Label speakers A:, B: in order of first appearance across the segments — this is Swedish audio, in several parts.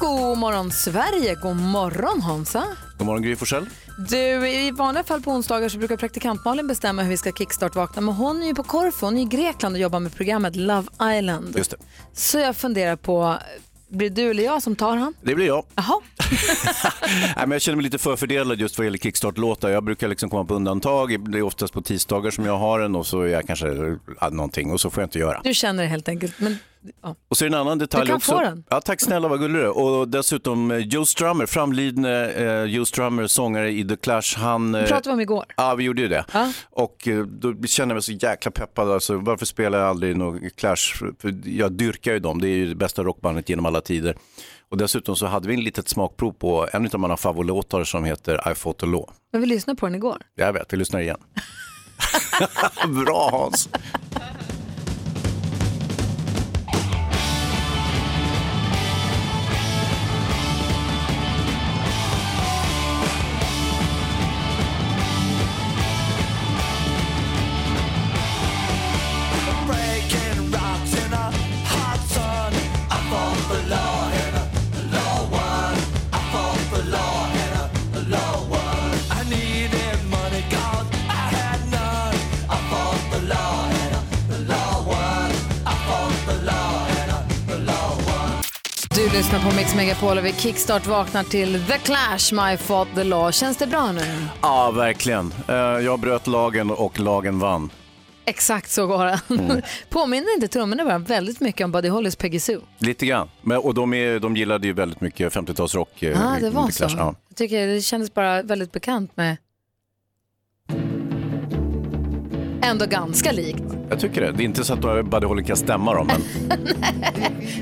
A: God morgon Sverige, god morgon Hansa.
B: God morgon Gry Forssell.
A: Du, i vanliga fall på onsdagar så brukar praktikant Malin bestämma hur vi ska kickstart-vakna. Men hon är ju på Korfu, hon är i Grekland och jobbar med programmet Love Island.
B: Just det.
A: Så jag funderar på, blir det du eller jag som tar han?
B: Det blir jag.
A: Jaha,
B: Nej, men jag känner mig lite förfördelad just vad gäller kickstart-låtar. Jag brukar liksom komma på undantag. Det är oftast på tisdagar som jag har en och så är jag kanske ah, någonting och så får jag inte göra.
A: du känner det helt enkelt. Men, ja.
B: Och så är det en annan detalj
A: Du kan
B: också.
A: få den.
B: Ja, tack snälla, vad gullig du är. Och dessutom eh, Joe Strummer, framlidne eh, Joe Strummer, sångare i The Clash. Han, eh,
A: Det pratade vi om igår.
B: Ja, vi gjorde ju det.
A: Ja.
B: Och eh, då känner jag mig så jäkla peppad. Alltså, varför spelar jag aldrig någon Clash? För Jag dyrkar ju dem. Det är ju det bästa rockbandet genom alla tider. Och dessutom så hade vi en litet smakprov på en av mina favoritlåtar som heter I fought the law.
A: Men vi lyssnade på den igår.
B: Jag vet, vi lyssnar igen. Bra Hans!
A: Du lyssnar på Mix Megapol och vi kickstart vaknar till The Clash, My Fault, The Law. Känns det bra nu?
B: Ja, verkligen. Eh, Jag bröt lagen och lagen vann.
A: Exakt så går den. Påminner inte trummorna bara väldigt mycket om Buddy Hollys Peggy Sue?
B: Lite grann. Men, och de, är, de gillade ju väldigt mycket 50-talsrock. eh,
A: Ja, ah, det var
B: The
A: så.
B: Clash. Ja.
A: Jag tycker det kändes bara väldigt bekant med... Ändå ganska likt.
B: Jag tycker det. Det är inte så att Buddy Holly kan stämma dem, men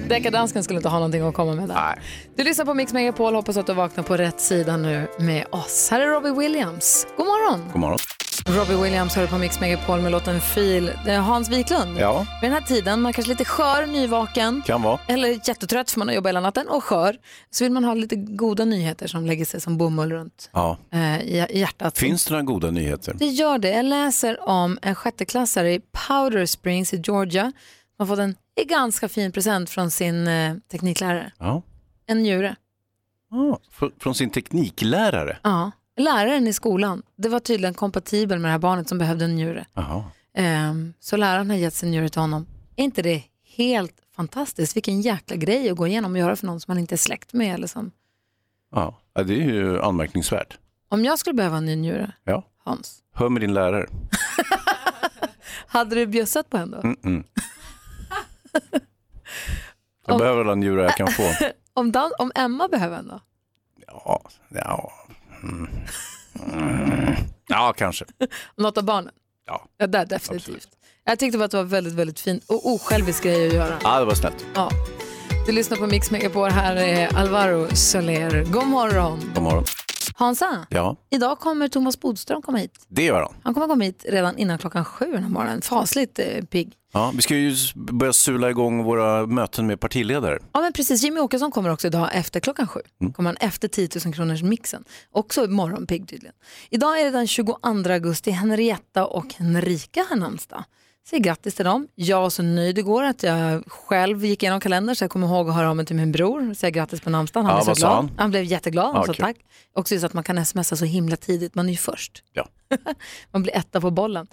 A: Deckardansken skulle inte ha någonting att komma med där.
B: nej.
A: Du lyssnar på Mix Megapol, hoppas att du vaknar på rätt sida nu med oss. Här är Robbie Williams. God morgon!
B: God morgon.
A: Robbie Williams hör på Mix Megapol med låten Feel. Det är Hans Wiklund.
B: Ja.
A: Vid den här tiden, man kanske är lite skör, nyvaken.
B: Kan vara.
A: Eller jättetrött för man har jobbat hela natten och skör. Så vill man ha lite goda nyheter som lägger sig som bomull runt
B: Ja.
A: eh, i i hjärtat.
B: Finns det några goda nyheter?
A: Det gör det. Jag läser om en sjätteklassare i Powder Springs i Georgia. Man har fått en ganska fin present från sin eh, tekniklärare.
B: Ja.
A: En njure.
B: Ja, fr- Från sin tekniklärare?
A: Ja. Läraren i skolan, det var tydligen kompatibel med det här barnet som behövde en njure.
B: Jaha.
A: Ehm, så läraren har gett sin njure till honom. Är inte det helt fantastiskt? Vilken jäkla grej att gå igenom och göra för någon som man inte är släkt med. Eller som.
B: Ja. ja, det är ju anmärkningsvärt.
A: Om jag skulle behöva en ny njure,
B: Ja.
A: Hans,
B: Hör med din lärare.
A: hade du bjössat på henne då?
B: Mm. Jag
A: Om-
B: behöver alla njurar jag kan få.
A: Om, Dan- om Emma behöver en då?
B: Ja, ja. Mm. Mm. ja kanske.
A: Något av barnen?
B: Ja.
A: Ja, där definitivt.
B: Absolut.
A: Jag tyckte bara att det var väldigt, väldigt fint och osjälvisk grej att göra.
B: Ja, det var snällt.
A: Ja. Du lyssnar på Mix Megapol. Här är Alvaro Soler. God morgon.
B: God morgon.
A: Hansa,
B: Ja,
A: idag kommer Thomas Bodström komma hit.
B: det gör han.
A: Han kommer komma hit redan innan klockan sju den här morgonen. Fasligt eh, pigg.
B: Ja, vi ska ju s- börja sula igång våra möten med partiledare.
A: Ja men precis, Jimmy Åkesson kommer också idag efter klockan sju.
B: Mm.
A: Kommer han efter 10 000 kronors mixen. Också morgonpigg tydligen. Idag är det den 22 augusti, Henrietta och Henrika har namnsdag. Säger grattis till dem. Jag var så nöjd igår att jag själv gick igenom kalendern så jag kommer ihåg att höra av mig till min bror. Säger grattis på namnsdagen, han
B: Ja,
A: blev
B: vad
A: så
B: sa
A: glad.
B: han?
A: blev jätteglad,
B: Ja,
A: han sa
B: kul.
A: tack. Också just att man kan smsa så himla tidigt, man är ju först.
B: Ja.
A: Man blir etta på bollen.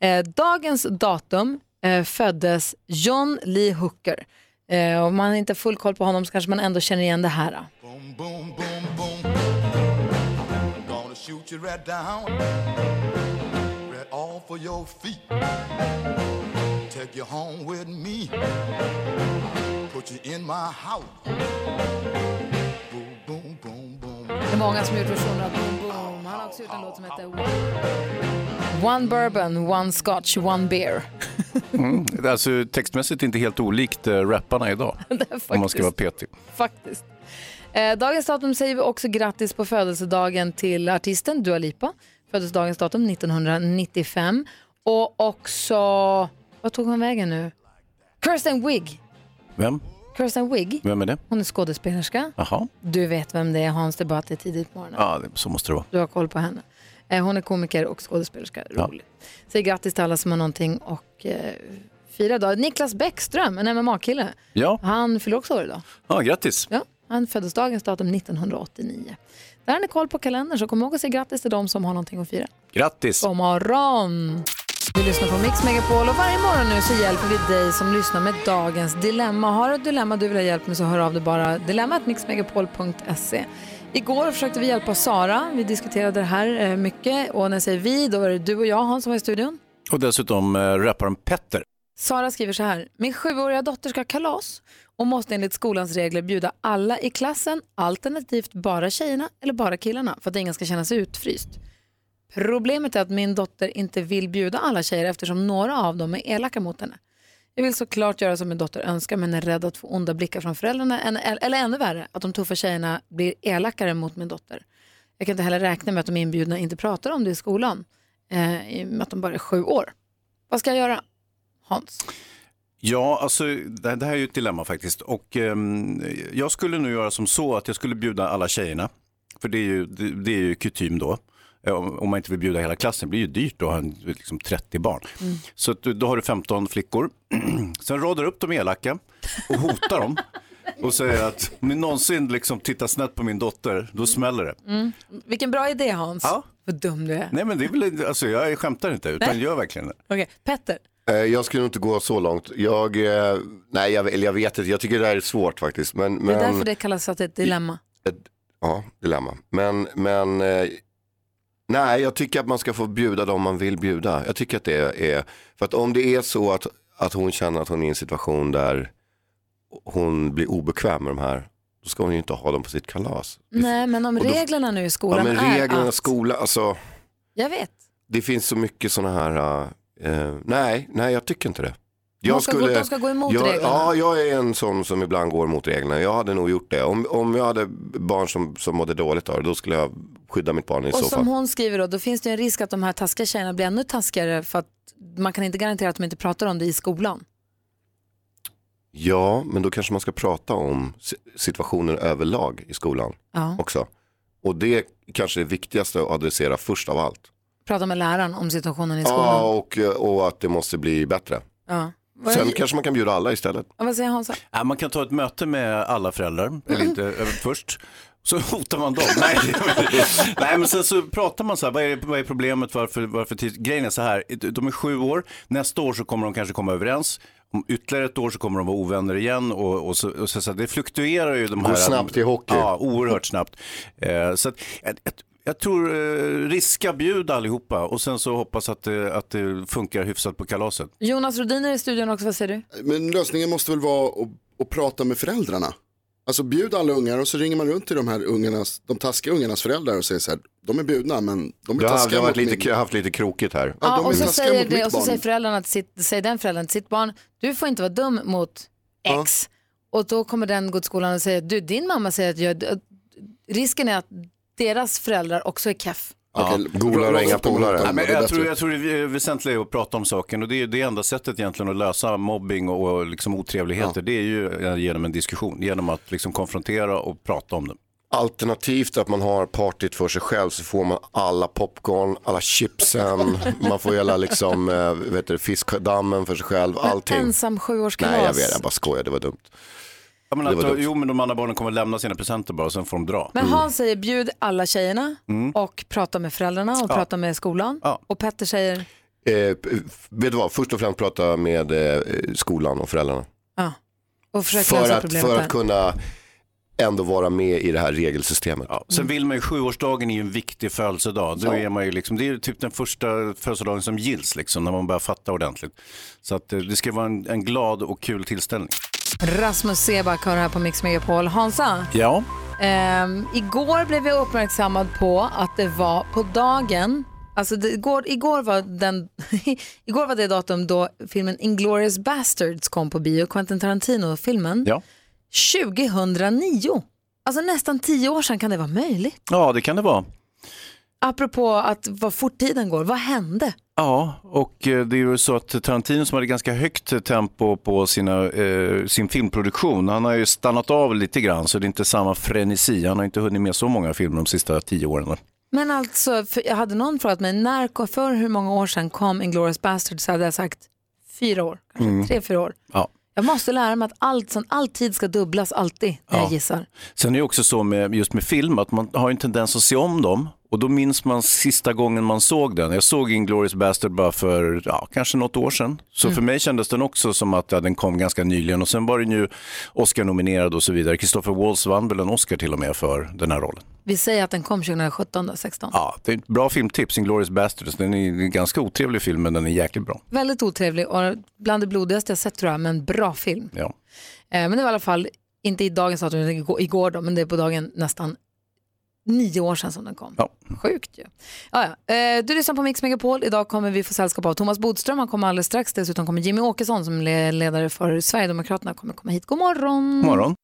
A: Eh, dagens datum eh, föddes John Lee Hooker. Eh, om man inte har full koll på honom så kanske man ändå känner igen det här. då.
C: Boom, boom, boom, boom. Gonna shoot you right down. Right off of your feet. Take you home with me. Put you in my house. Boom, boom, boom, boom.
A: Det är många som har gjort versioner av Boom Boom. Han har också gjort en låt som heter One Bourbon, One Scotch, One Beer.
B: Det är Alltså textmässigt inte helt olikt eh, rapparna idag.
A: Det är
B: Om man ska vara
A: faktiskt-
B: petig.
A: Faktiskt. Eh, dagens datum säger vi också grattis på födelsedagen till artisten Dua Lipa. Födelsedagens datum 1995. Och också, vad tog hon vägen nu? Kirsten Wigg.
B: Vem?
A: Kirsten Wigg,
B: Vem är det?
A: hon är skådespelerska.
B: Jaha,
A: Du vet vem det är Hans, det är bara att det är tidigt på morgonen.
B: ja, det- så måste det vara.
A: Du har koll på henne. Eh, Hon är komiker och skådespelerska.
B: Ja.
A: Rolig. Säg grattis till alla som har någonting och eh, fira idag. Niklas Bäckström, en MMA-kille.
B: Ja,
A: Han fyller också år idag.
B: ja grattis.
A: Ja, han föddes dagens datum 1989. Där har ni koll på kalendern så kom ihåg att säga grattis till de som har någonting att fira.
B: Grattis.
A: God morgon! Du lyssnar på Mix Megapol och varje morgon nu så hjälper vi dig som lyssnar med dagens dilemma. Har du ett dilemma du vill ha hjälp med så hör av dig bara dilemmatmixmegapol.se. Igår försökte vi hjälpa Sara. Vi diskuterade det här eh, mycket och när jag säger vi då var det du och jag Hans som var i studion.
B: Och dessutom äh, rapparen Petter.
A: Sara skriver så här. Min sjuåriga dotter ska ha kalas och måste enligt skolans regler bjuda alla i klassen, alternativt bara tjejerna eller bara killarna för att ingen ska känna sig utfryst. Problemet är att min dotter inte vill bjuda alla tjejer eftersom några av dem är elaka mot henne. Jag vill såklart göra som min dotter önskar men är rädd att få onda blickar från föräldrarna än- eller ännu värre, att de tuffa tjejerna blir elakare mot min dotter. Jag kan inte heller räkna med att de inbjudna inte pratar om det i skolan, eh, i och med att de bara är sju år. Vad ska jag göra? Hans.
B: Ja, alltså det, det här är ju ett dilemma faktiskt. Och ehm, jag skulle nu göra som så att jag skulle bjuda alla tjejerna. För det är ju, det, det är ju kutym då. Eh, Om om man inte vill bjuda hela klassen, det blir ju dyrt då att ha en- liksom 30 barn. Så att, du- då har du 15 flickor. Sen radar upp de elaka och hotar dem. Och säger att om ni någonsin liksom tittar snett på min dotter, då smäller det.
A: Vilken bra idé Hans.
B: Ja.
A: Vad dum du är.
B: Nej men det är väl, alltså jag skämtar inte, utan gör verkligen det.
A: Okej, Petter.
D: Eh, Jag skulle nog inte gå så långt. Jag, eh, nej, jag, eller jag vet inte, jag tycker det här är svårt faktiskt. Men,
A: Det
D: men, eh,
A: är därför det kallas att det är ett dilemma.
D: Ja, dilemma. Men, men eh, nej, jag tycker att man ska få bjuda dem man vill bjuda. Jag tycker att det är, för att om det är så att, att hon känner att hon är i en situation där hon blir obekväm med de här, då ska hon ju inte ha dem på sitt kalas.
A: Nej, men om
D: Mm. och då-
A: reglerna nu i
D: ja,
A: skolan
D: men reglerna
A: är
D: i
A: att...
D: skolan, alltså
A: Jag vet.
D: det finns så mycket sådana här, eh, nej, nej jag tycker inte det. Jag
A: de, ska gå, de ska gå emot
D: jag,
A: reglerna.
D: Ja, jag är en sån som ibland går mot reglerna. Jag hade nog gjort det. Om, om jag hade barn som, som mådde dåligt av det, då skulle jag skydda mitt barn i
A: och
D: så
A: som
D: fall.
A: hon skriver då, då finns det ju en risk att de här taskiga tjejerna blir ännu taskigare för att man kan inte garantera att de inte pratar om det i skolan.
D: Ja, men då kanske man ska prata om si- situationen överlag i skolan
A: Ja.
D: också. Och det kanske är det viktigaste att adressera först av allt.
A: Prata med läraren om situationen i skolan.
D: Ja, och, och att det måste bli bättre.
A: Ja. Vad,
D: Sen kanske man kan bjuda alla istället.
A: ja, vad säger Hansa?
B: Ja, man kan ta ett möte med alla föräldrar, eller
D: Mm.
B: inte eh, först. Så hotar man dem. Nej, nej, men sen så pratar man så här, vad är, vad är problemet, varför, varför tid? Grejen är så här, de är sju år, nästa år så kommer de kanske komma överens. Om ytterligare ett år så kommer de vara ovänner igen och, och, så, och så, så här, det fluktuerar ju de här.
D: snabbt i hockey.
B: Ja, oerhört snabbt. Eh, så att, jag, jag- jag tror eh, riska bjud allihopa och sen så hoppas att, det- att det funkar hyfsat på kalaset.
A: Jonas Rodiner i studion också, vad säger du?
E: Men lösningen måste väl vara att, att prata med föräldrarna. Alltså bjud alla ungar och så ringer man runt till de här ungarnas, de taskiga ungarnas föräldrar och säger så här, de är bjudna men de är
D: Du har,
E: taskiga
D: jag har varit
E: mot
D: lite,
E: min...
D: jag har haft lite krokigt här.
E: Ja,
A: Ja,
E: de är
A: och, så
E: taskiga
A: säger
E: mot mitt
A: det, och så
E: barn.
A: säger, föräldern till sitt, säger den föräldern till sitt barn, du får inte vara dum mot X. Och då kommer den gå till skolan och säga, du din mamma säger att jag, att risken är att deras föräldrar också är keff.
E: Okej,
D: golare
E: låt
D: och inga
E: dem hota
D: polare.
E: dem,
B: Ja, men
E: det är
B: jag,
E: bättre.
B: tror, jag tror det är väsentligt att prata om saken och det är det enda sättet egentligen att lösa mobbing och, och liksom otrevligheter. Det är ju eh, genom en diskussion, genom att liksom konfrontera och prata om det.
D: Alternativt att man har partyt för sig själv så får man alla popcorn, alla chipsen, man får hela liksom, eh, vet du, fiskdammen för sig själv, allting.
A: Ensam sjuårskalas.
D: Nej jag vet, jag bara skojar, det var dumt.
B: Ja, men
D: Det var
B: att, eh,
D: dumt.
B: jo, men de andra barnen kommer lämna sina presenter bara och sen får de dra.
D: Mm.
A: Men Hans säger bjud alla tjejerna och prata med föräldrarna och prata med skolan.
B: Ja.
A: Och Petter säger,
D: Eh, p- vet du vad, först och främst prata med eh, skolan och föräldrarna.
A: ja. Och försök
D: För
A: lösa
D: att,
A: problemet
D: för
A: där.
D: att kunna ändå vara med i det här regelsystemet.
B: Ja. Sen vill man ju, sjuårsdagen är ju en viktig födelsedag. Då är man ju liksom, det är ju typ den första födelsedagen som gills, liksom, när man börjar fatta ordentligt. Så att, eh, det ska vara en, en glad och kul tillställning.
A: Rasmus Seback hör här på Mix Megapol. Hansa,
B: Ja,
A: Ehm, igår blev jag uppmärksammad på att det var på dagen, alltså det, igår, igår, var den, igår var det datum då filmen Inglourious Basterds kom på bio, Quentin Tarantino-filmen,
B: ja.
A: 2009. Alltså nästan tio år sedan kan det vara möjligt.
B: Ja, det kan det vara.
A: Apropå att vad fort tiden går, vad hände?
B: Ja, och eh, det är ju så att Tarantino som hade ganska högt tempo på sina, eh, sin filmproduktion, han har ju stannat av lite grann så det är inte samma frenesi. Han har inte hunnit med så många filmer de sista tio åren.
A: Men alltså, för, jag hade någon frågat mig, när, kom- för hur många år sedan kom Inglourious Basterds så hade jag sagt fyra år, kanske tre, fyra år.
B: Ja.
A: Jag måste lära mig att allt, sånt, all tid ska dubblas alltid när jag gissar.
B: Sen är det också så med, just med film att man har ju en tendens att se om dem och då minns man sista gången man såg den. Jag såg Inglourious Bastard bara för ja, kanske något år sedan. Så för mig kändes den också som att ja, den kom ganska nyligen och sen var den ju Oscar-nominerad och så vidare. Christopher Waltz vann väl en Oscar till och med för den här rollen.
A: Vi säger att den kom 2017, då, 16.
B: Ja, det är ett bra filmtips, Inglourious Basterds. Den är en ganska otrevlig film men den är jäkligt bra.
A: Väldigt otrevlig och bland det blodigaste jag sett tror jag, men bra film.
B: Ja.
A: Eh, men det var i alla fall, inte i dagens datum, utan igår- igår då, men det är på dagen nästan nio år sedan som den kom.
B: Ja.
A: Sjukt ju. Ja, ja. Eh, du lyssnar på Mix Megapol. Idag kommer vi få sällskap av Thomas Bodström. Han kommer alldeles strax. Dessutom kommer Jimmy Åkesson som le- ledare för Sverigedemokraterna kommer komma hit. God morgon.
B: God morgon.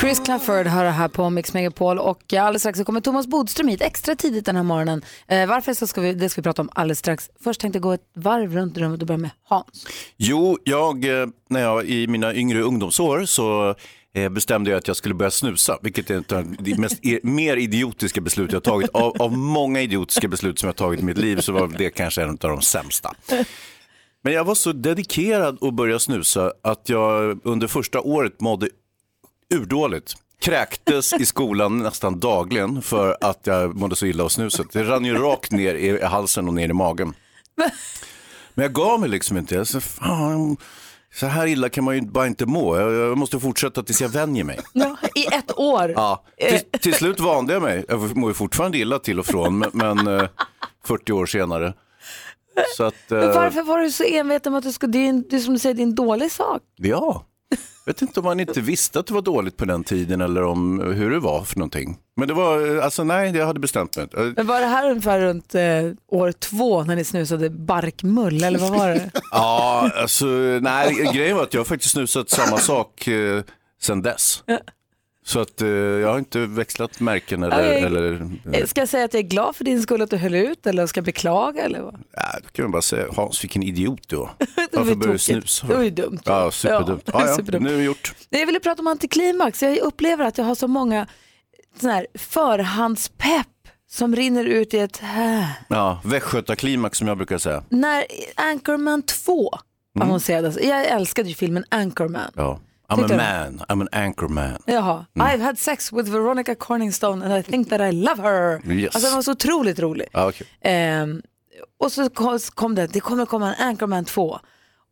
A: Chris Clafford hör det här på Mix Megapol och eh, alldeles strax så kommer Thomas Bodström hit extra tidigt den här morgonen. Eh, varför så ska vi, det ska vi prata om alldeles strax. Först tänkte jag gå ett varv runt rummet och börja med Hans.
B: Jo, jag, eh, när jag i mina yngre ungdomsår så eh, bestämde jag att jag skulle börja snusa, vilket är ett av de mest, er- mer idiotiska beslut jag tagit. Av, av många idiotiska beslut som jag tagit i mitt liv så var det kanske en av de sämsta. Men jag var så dedikerad att börja snusa att jag under första året mådde urdåligt. Kräktes i skolan nästan dagligen för att jag mådde så illa av snuset. Det rann ju rakt ner i halsen och ner i magen. Men jag gav mig liksom inte. Jag sa, fan, så här illa kan man ju bara inte må. Jag, jag måste fortsätta tills jag vänjer mig.
A: I ett år. Eh,
B: Ja, till, till slut vande jag mig. Jag mår ju fortfarande illa till och från, men, men eh, 40 år senare. Så att, eh,
A: Men varför var du så enveten om att du skulle, det är, en- det är som du säger, det är en dålig sak.
B: Ja, jag vet inte om man inte visste att det var dåligt på den tiden eller om hur det var för någonting. Men det var, eh, alltså nej, jag hade bestämt mig. Eh,
A: Men var det här ungefär runt eh, år två när ni snusade barkmull eller vad var det?
B: Ja, alltså, nej, grejen var att jag har faktiskt snusat samma sak eh, sen dess. Så att eh, jag har inte växlat märken eller...
A: Okej.
B: eller
A: Eh, Ska jag säga att jag är glad för din skull att du höll ut eller ska jag beklaga eller vad?
B: nej, då kan man bara säga, Hans vilken idiot du var.
A: var ju
B: Varför började du
A: tokigt.
B: snusa?
A: Det var ju dumt.
B: Ja, superdumt.
A: Ja,
B: Ja, ja,
A: superdumt.
B: Nu är det gjort.
A: Nej, Jag ville prata om antiklimax. Jag upplever att jag har så många sån här förhandspepp som rinner ut i ett äh.
B: Ja, Västgötaklimax som jag brukar säga.
A: När Anchorman 2 annonserades, jag älskade ju filmen Anchorman.
B: Mm. Ja. Mm.
A: Tyckte
B: I'm a
A: du?
B: man, I'm an anchor man.
A: Jaha, I've had sex with Veronica Corningstone and I think that I love her.
B: Yes.
A: Alltså den var så otroligt rolig.
B: Ja, okej.
A: Ehm, och så kom- kom det, det kommer komma en Anchorman 2.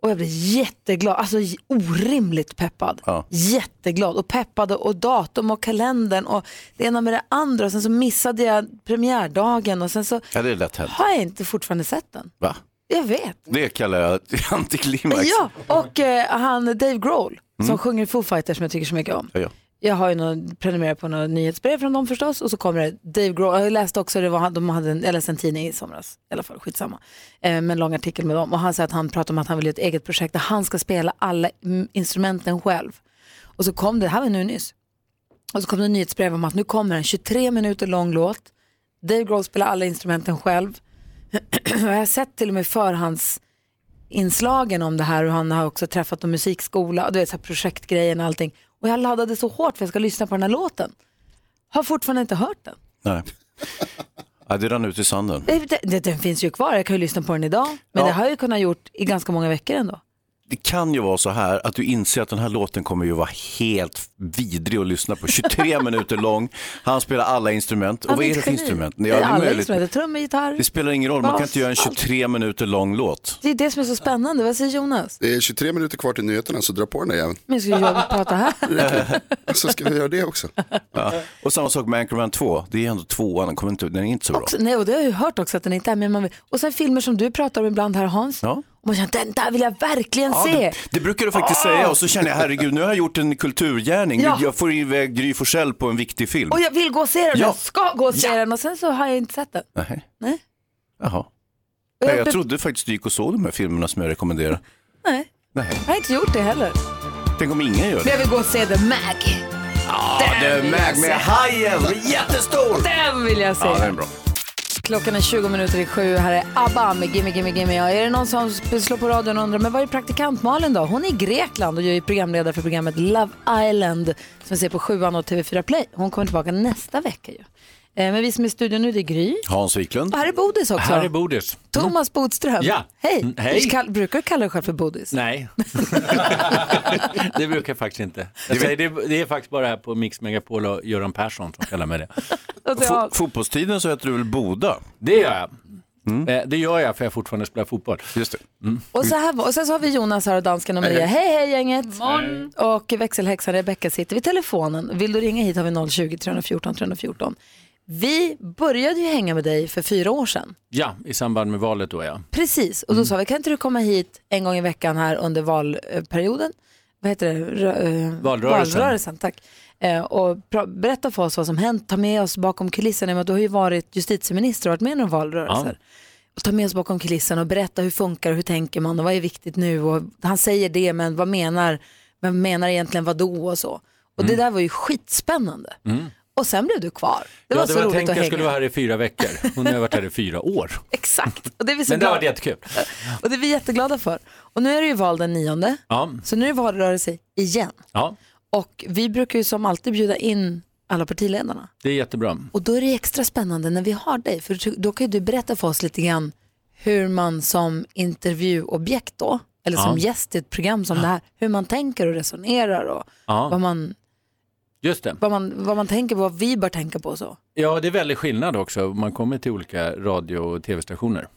A: Och jag blev jätteglad, alltså j- orimligt peppad.
B: Ja.
A: Jätteglad och peppad och datum och kalendern och det ena med det andra. Och sen så missade jag premiärdagen och sen så
B: ja, det är lätt hänt.
A: har jag inte fortfarande sett den.
B: Va?
A: Jag vet.
B: Det kallar jag antiklimax.
A: Ja, och eh, han Dave Grohl som sjunger Foo Fighters som jag tycker så mycket om.
B: Mm. Ja, ja.
A: Jag har ju någon, prenumererat på något nyhetsbrev från dem förstås och så kommer det Dave Grohl, jag läste också, det var, han- de hade en, jag läste en tidning i somras, i alla fall skitsamma, eh, med en lång artikel med dem och han säger att han pratar om att han vill göra ett eget projekt där han ska spela alla mm, instrumenten själv. Och så kom det, det här var nu nyss, och så kom det nyhetsbrev om att nu kommer en 23 minuter lång låt, Dave Grohl spelar alla instrumenten själv. jag har sett till och med förhands inslagen om det här och han har också träffat en musikskola och du vet så här projektgrejen och allting. Och jag laddade så hårt för jag ska lyssna på den här låten. Har fortfarande inte hört den.
B: Nej. Ja, det rann ut i sanden.
A: Det- det- Den finns ju kvar, jag kan ju lyssna på den idag. Men
B: Ja.
A: det har jag ju kunnat gjort i ganska många veckor ändå.
B: det kan ju vara så här att du inser att den här låten kommer ju vara helt vidrig att lyssna på. 23 minuter lång, han spelar alla instrument. Och
A: Han
B: vad är
A: ett
B: det för
A: geni.
B: instrument?
A: Det
B: Ja,
A: är
B: det, är
A: alla
B: möjligt.
A: instrument, trummor, gitarr.
B: det spelar ingen roll, man kan
A: Bas,
B: inte göra en
A: allt.
B: 23 minuter lång låt.
A: Det är det som är så spännande, vad säger Jonas?
E: Det är 23 minuter kvar till nyheterna så dra på den där jäveln.
A: Men ska ju jag prata här?
E: Alltså ska vi göra det också?
B: Och samma sak med Anchorman 2, det är ändå tvåan, den, kommer inte, den är inte så bra.
A: Också, nej, och det har jag ju hört också att den inte är med. Man vill, och sen filmer som du pratar om ibland här Hans.
B: Ja.
A: Och man känner, den där vill jag verkligen
B: Ja,
A: se.
B: det, det brukar du faktiskt säga och så känner jag herregud, nu har jag gjort en kulturgärning.
A: Ja.
B: Jag får iväg Gry Forssell på en viktig film.
A: Och jag vill gå och se den,
B: Ja.
A: jag ska gå och se
B: Ja.
A: den. Och sen så har jag inte sett den.
B: Nej.
A: Nej.
B: Jaha.
A: Och
B: Nej,
A: be-
B: jag trodde faktiskt du gick och såg de här filmerna som jag rekommenderar.
A: Nej,
B: Nej.
A: jag har inte gjort det heller.
B: Tänk om ingen gör det.
A: Men jag vill gå och se The Mag.
B: The Mag med hajen, jättestor!
A: Den vill jag säga.
B: Ja, den är bra.
A: Klockan är 20 minuter i sju. Här är ABBA med Gimme Gimme Gimme. Och är det någon som sp- slår på radion och undrar, men var är praktikant Malin då? Hon är i Grekland och jag är programledare för programmet Love Island som vi ser på sjuan och TV4 Play. Hon kommer tillbaka nästa vecka ju. Eh, Men vi som är i studion nu, det är Gry.
B: Hans Wiklund.
A: Och här är Bodis också.
F: Här är Bodis.
A: Thomas Bodström.
F: Ja.
A: Hej.
F: Mm, hej.
A: Du kall- brukar du kalla dig själv för Bodis?
F: Nej, det brukar jag faktiskt inte. Jag säger, det, det är faktiskt bara här på Mix Megapol och Göran Persson som kallar mig det.
A: Och det-
B: Fo- fotbollstiden så heter du väl Boda?
F: Det gör jag.
A: Mm.
F: Eh, Det gör jag för jag fortfarande spelar fotboll.
B: Just det.
A: Och, så här, var- och sen så har vi Jonas här och dansken och Maria. Hej hej gänget! Och växelhäxan Rebecka sitter vid telefonen. Vill du ringa hit har vi 020-314 314. Vi började ju hänga med dig för fyra år sedan.
F: Ja, i samband med valet då ja.
A: Precis, och då
F: Mm.
A: sa vi kan inte du komma hit en gång i veckan här under valperioden? Vad heter det? Rö- eh,
F: Valrörelsen.
A: Valrörelsen tack. Eh, och pra- berätta för oss vad som hänt, ta med oss bakom kulisserna. Men Du har ju varit justitieminister och varit med i några valrörelser. Och ta med oss bakom kulisserna och berätta hur funkar och hur tänker man och vad är viktigt nu. Och han säger det men vad menar, vem menar egentligen vad då och så. Och
F: Mm.
A: det där var ju skitspännande. Och sen blev du kvar. Det
F: jag
A: var
F: hade
A: så
F: väl
A: roligt
F: tänkt
A: att
F: att jag
A: hänga.
F: skulle vara här i fyra veckor och nu har jag varit här i fyra år.
A: Exakt. Och det är vi så
F: Men det har varit
A: glada-
F: jättekul.
A: och det är vi jätteglada för. Och nu är det ju val den nionde,
F: Ja,
A: så nu är det valrörelse igen.
F: ja
A: Och vi brukar ju som alltid bjuda in alla partiledarna.
F: det är jättebra.
A: Och då är det extra spännande när vi har dig, för då kan ju du berätta för oss lite grann hur man som intervjuobjekt då, eller som
F: Ja.
A: gäst i ett program som det här, hur man tänker och resonerar och vad,
F: Ja,
A: man,
F: just det.
A: vad, man, vad man tänker på, vad vi bör tänka på och så.
F: Ja, det är väldigt skillnad också. Man kommer till olika radio och tv-stationer.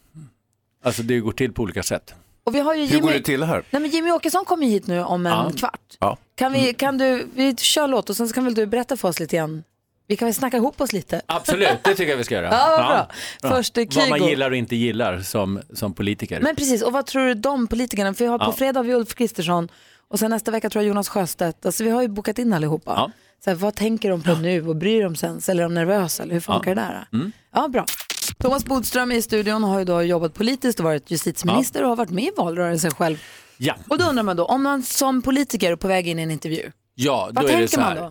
F: Alltså det går till på olika sätt.
A: Och vi har ju
B: Hur går
A: Jimmy,
B: det till här?
A: Nej, men Jimmy Åkesson kommer ju hit nu om en
F: Ja. Mm.
A: kvart.
B: Ja.
A: Kan vi, kan du, vi kör låt och sen så kan väl du berätta för oss lite grann. Vi kan väl snacka ihop oss lite.
F: Absolut, det tycker jag vi ska göra.
A: Ja, vad bra. Först är
F: Vad man
A: Kygo.
F: gillar och inte gillar som, som politiker.
A: Men precis, och vad tror du de politikerna, för vi har på
F: Ja.
A: fredag har vi Ulf Kristersson och sen nästa vecka tror jag Jonas Sjöstedt. Alltså vi har ju bokat in allihopa.
F: Ja.
A: Så här, vad tänker de på nu och bryr de sig ens? Eller är de nervösa? Eller hur funkar det där?
F: Mm.
A: Ja, bra. Thomas Bodström i studion har ju då jobbat politiskt och varit justitieminister och har varit med i valrörelsen själv.
F: Ja,
A: Och då undrar man då, om man som politiker är på väg in i en intervju,
F: ja då
A: Vad
F: är
A: tänker
F: det så här.
A: man då?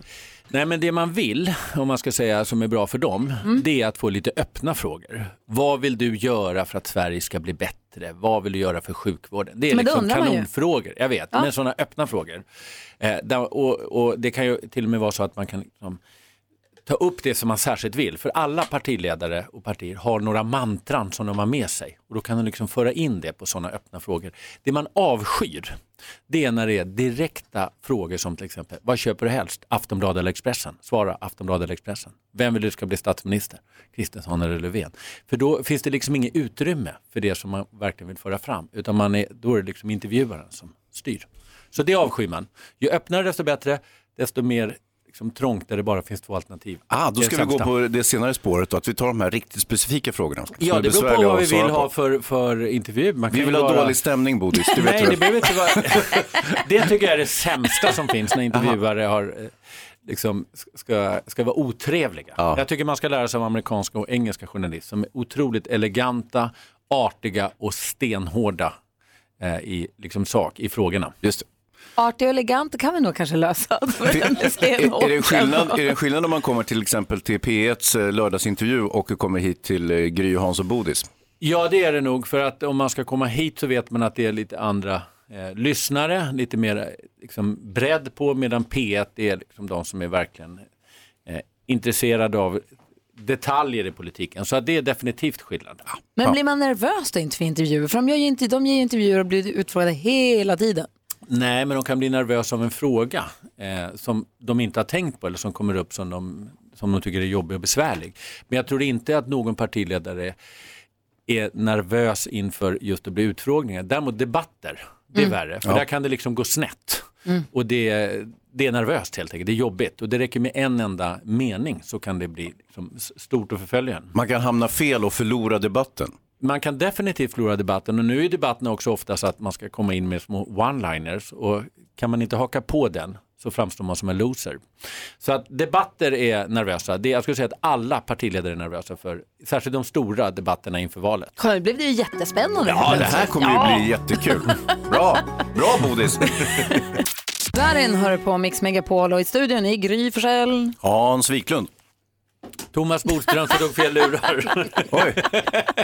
F: Nej, men det man vill, om man ska säga som är bra för dem,
A: Mm.
F: det är att få lite öppna frågor. Vad vill du göra för att Sverige ska bli bättre? Vad vill du göra för sjukvården? Det är
A: Men det
F: liksom
A: undrar man ju.
F: kanonfrågor, jag vet, men sådana öppna frågor. Eh, där, och, och det kan ju till och med vara så att man kan liksom, ta upp det som man särskilt vill. För alla partiledare och partier har några mantran som de har med sig. Och då kan de liksom föra in det på sådana öppna frågor. Det man avskyr, det är när det är direkta frågor som till exempel, vad köper du helst? Aftonbladet eller Expressen? Svara Aftonbladet eller Expressen. Vem vill du ska bli statsminister? Kristersson eller Löfven? För då finns det liksom inget utrymme för det som man verkligen vill föra fram. Utan man är, då är det liksom intervjuaren som styr. Så det avskyr man. Ju öppnare desto bättre, desto mer liksom trångt där det bara finns två alternativ.
B: Ah, då
F: Det är
B: ska vi gå
F: sämsta.
B: på det senare spåret då, att vi tar de här riktigt specifika frågorna. som
F: Ja,
B: är
F: det beror på
B: besvärliga
F: vad vi
B: att svara
F: vill
B: på.
F: ha för, för intervju. Man
B: Vi
F: kan
B: vill
F: ju
B: ha
F: vara-
B: dålig stämning Bodis, det vet
F: Nej,
B: du.
F: det behöver inte vara... Det tycker jag är det sämsta som finns när intervjuare har, eh, liksom, ska, ska vara otrevliga.
B: Ja.
F: Jag tycker man ska lära sig av amerikanska och engelska journalister som är otroligt eleganta, artiga och stenhårda eh, i liksom, sak, i frågorna.
B: Just det.
A: artig och elegant, det kan vi nog kanske lösa.
B: Är, är, det en skillnad, är det en skillnad om man kommer till exempel till P1s eh, lördagsintervju och kommer hit till eh, Gry, Hans och Bodis?
F: Ja, det är det nog. För att om man ska komma hit så vet man att det är lite andra eh, lyssnare, lite mer eh, liksom, bredd på, medan P1 är liksom, de som är verkligen eh, intresserade av detaljer i politiken. Så att det är definitivt skillnad.
A: Men blir man nervös då inte för intervjuer? För de, gör ju inte, de ger ju intervjuer och blir utfrågade hela tiden.
F: Nej, men de kan bli nervösa av en fråga eh, som de inte har tänkt på eller som kommer upp som de, som de tycker är jobbig och besvärlig. Men jag tror inte att någon partiledare är nervös inför just att bli utfrågningar. Däremot debatter, det är värre. För där kan det liksom gå snett. Och det, det är nervöst helt enkelt, det är jobbigt. Och det räcker med en enda mening så kan det bli liksom s- stort och förfölja en.
B: Man kan hamna fel och förlora debatten.
F: Man kan definitivt förlora debatten och nu är debatten också ofta så att man ska komma in med små one-liners och kan man inte haka på den så framstår man som en loser. Så att debatter är nervösa. Det, jag skulle säga att alla partiledare är nervösa för, särskilt de stora debatterna inför valet.
A: Kolla, nu blev det ju jättespännande.
B: Ja, det här kommer ju bli jättekul. Bra, bra Bodis.
A: Darin hör på Mix Megapol och i studion är Gry Forssell.
B: Hans Wiklund.
F: Thomas Bodström som tog fel lurar.
B: Oj,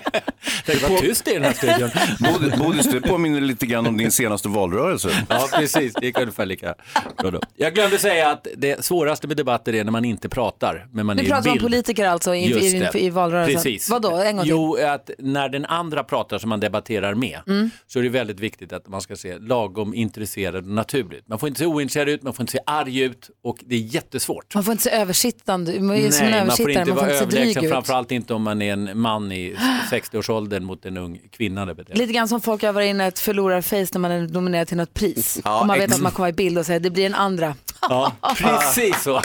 F: Det var tyst i den här studion.
B: Bodis, Bodis, det påminner lite grann om din senaste valrörelse.
F: Ja, precis. Det gick ungefär lika bra då. Jag glömde säga att det svåraste med debatter är när man inte pratar, men man
A: Nu
F: är i
A: pratar vi om
F: bild.
A: politiker alltså i,
F: Just
A: i,
F: det.
A: i, i valrörelsen.
F: Precis.
A: Vadå, en gång till?
F: Jo, att när den andra pratar som man debatterar med
A: Mm.
F: så är det väldigt viktigt att man ska se lagom intresserad och naturligt. Man får inte se ointresserad ut, man får inte se arg ut och det är jättesvårt.
A: Man får inte se översittande, man är ju som en
F: Nej, man får
A: översittare,
F: inte
A: man får
F: vara
A: inte se dryg
F: överlägsen,
A: ut.
F: framförallt inte om man är en man i 60-årsåldern mot en ung kvinna. där beter sig.
A: Lite grann som folk övar in ett förlorarface när man är nominerad till något pris. och man vet att man kommer i bild och säger det blir den andra.
F: Ja, precis så.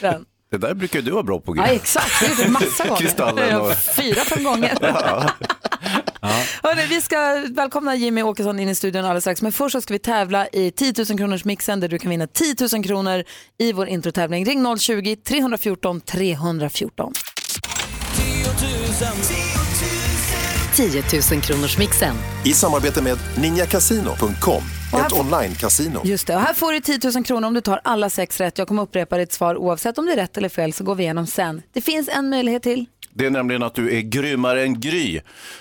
A: Den.
B: Det där brukar ju du vara bra på. Gry.
A: Ja exakt, det har jag gjort massa gånger.
B: Kristallen
A: Jag har
B: och-
A: Fyra, fem gånger. Hörrni, vi ska välkomna Jimmy Åkesson in i studion alldeles strax. Men först så ska vi tävla i 10 000 kronors mixen där du kan vinna 10 000 kronor i vår introtävling. Ring 020-314 314.
G: 10 000 kronors mixen.
H: I samarbete med ninjakasino.com, ett
A: här-
H: online-casino.
A: Just det, och här får du 10 000 kronor om du tar alla sex rätt. Jag kommer upprepa ditt svar oavsett om det är rätt eller fel så går vi igenom sen. Det finns en möjlighet till.
B: Det är nämligen att du är grymmare än Gry.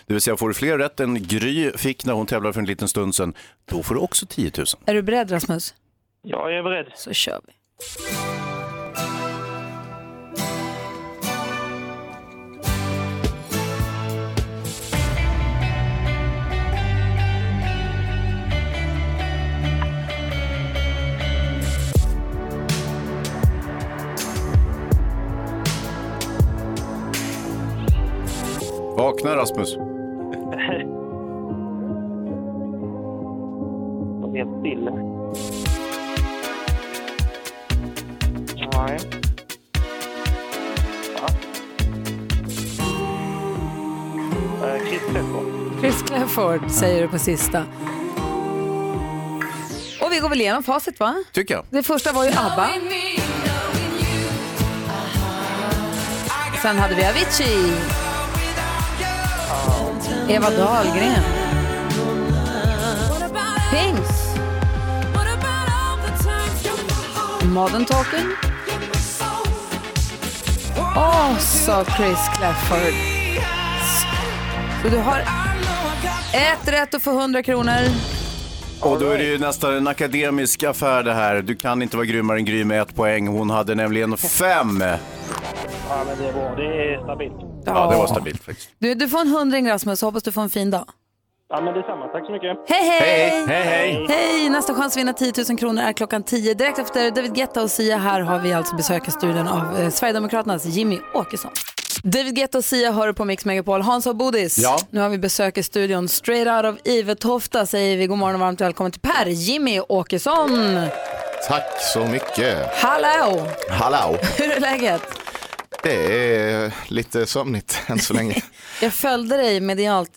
B: Det vill säga får du fler rätt än Gry fick när hon tävlade för en liten stund sedan, då får du också 10 000.
A: Är du beredd Rasmus?
I: Ja, jag är beredd.
A: Så kör vi.
B: Vakna Rasmus.
I: Jag är helt still. Nej. Ja. Eh, Chris Pepper.
A: Chris Clafford säger du på sista. Och vi går väl igenom facit va?
B: Tycker jag.
A: Det första var ju ABBA. Sen hade vi Avicii. Eva Dahlgren. Pings. Modern Talking. Åh, sa Chris Clafford. Så du har ett rätt och får 100 kronor.
B: Och då är det ju nästan en akademisk affär det här. Du kan inte vara grymmare än Gry med ett poäng. Hon hade nämligen fem.
I: Ja, men det är bra. Det är stabilt.
B: Ja, det var stabilt faktiskt.
A: Du, du får en hundring Rasmus, hoppas du får en fin dag.
I: Ja, men detsamma. Tack så mycket.
A: Hej hej!
F: Hej, hej.
A: Hej! Nästa chans att vinna 10 000 kronor är klockan 10. Direkt efter David Guetta och Sia här har vi alltså besökat studion av eh, Sverigedemokraternas Jimmy Åkesson. David Guetta och Sia hör du på Mix Megapol. Hans och Bodis,
B: Ja.
A: nu har vi besök i studion. Straight out of Ivetofta säger vi god morgon och varmt välkommen till Per Jimmy Åkesson.
J: Tack så mycket.
A: Hallå!
J: Hallå.
A: Hur är läget?
J: Det är lite sömnigt än så länge.
A: Jag följde dig medialt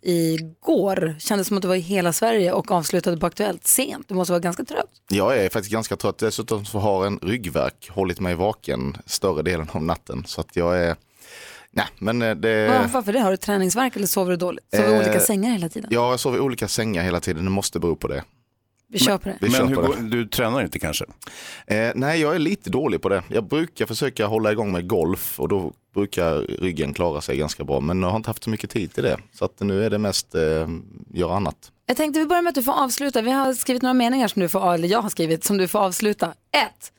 A: igår. Kändes som att du var i hela Sverige och avslutade på Aktuellt sent. Du måste vara ganska trött.
J: Jag är faktiskt ganska trött. Dessutom så har en ryggverk hållit mig vaken större delen av natten. Så att jag är... Nej, men eh,
A: Äh.
J: det...
A: Varför det? Har du träningsvärk eller sover du dåligt? Sover du i
J: Eh,
A: olika sängar hela tiden?
J: Ja, jag sover i olika sängar hela tiden. Det måste bero på det.
A: Vi kör på det.
J: Vi
B: Men
J: kör
B: hur
J: på
B: går,
J: det.
B: du tränar inte kanske?
J: Eh, nej, jag är lite dålig på det. Jag brukar försöka hålla igång med golf och då brukar ryggen klara sig ganska bra. Men jag har inte haft så mycket tid till det. Så att nu är det mest eh, göra annat.
A: Jag tänkte vi börjar med att du får avsluta. Vi har skrivit några meningar som du får, eller jag har skrivit, som du får avsluta. Ett,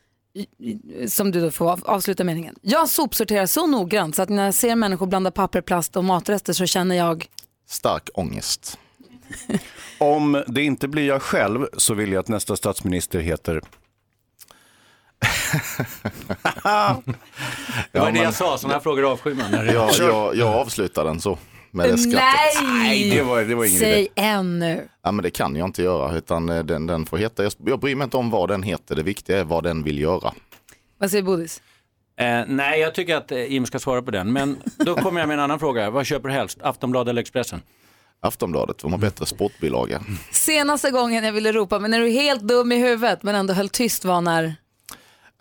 A: som du då får av- avsluta meningen. Jag sopsorterar så noggrant så att när jag ser människor blanda papper, plast och matrester så känner jag,
J: Stark ångest.
B: Om det inte blir jag själv så vill jag att nästa statsminister heter...
F: Det var det jag sa, sådana här frågor avskyr man. När det
J: Jag, jag, jag avslutar den så. Med det skrattet.
B: Nej,
A: nej,
B: det var, det var ingen idé.
A: säg ännu.
J: Ja, men det kan jag inte göra. Utan eh, den, den får heta. Jag, jag bryr mig inte om vad den heter. Det viktiga är vad den vill göra.
A: Vad säger Bodis?
F: Eh, nej, jag tycker att eh, Jim ska svara på den. Men då kommer jag med en annan fråga. Vad köper du helst? Aftonbladet eller Expressen?
J: Aftonbladet, de har bättre sportbilaga.
A: Senaste gången jag ville ropa, men är du helt dum i huvudet men ändå höll tyst var när,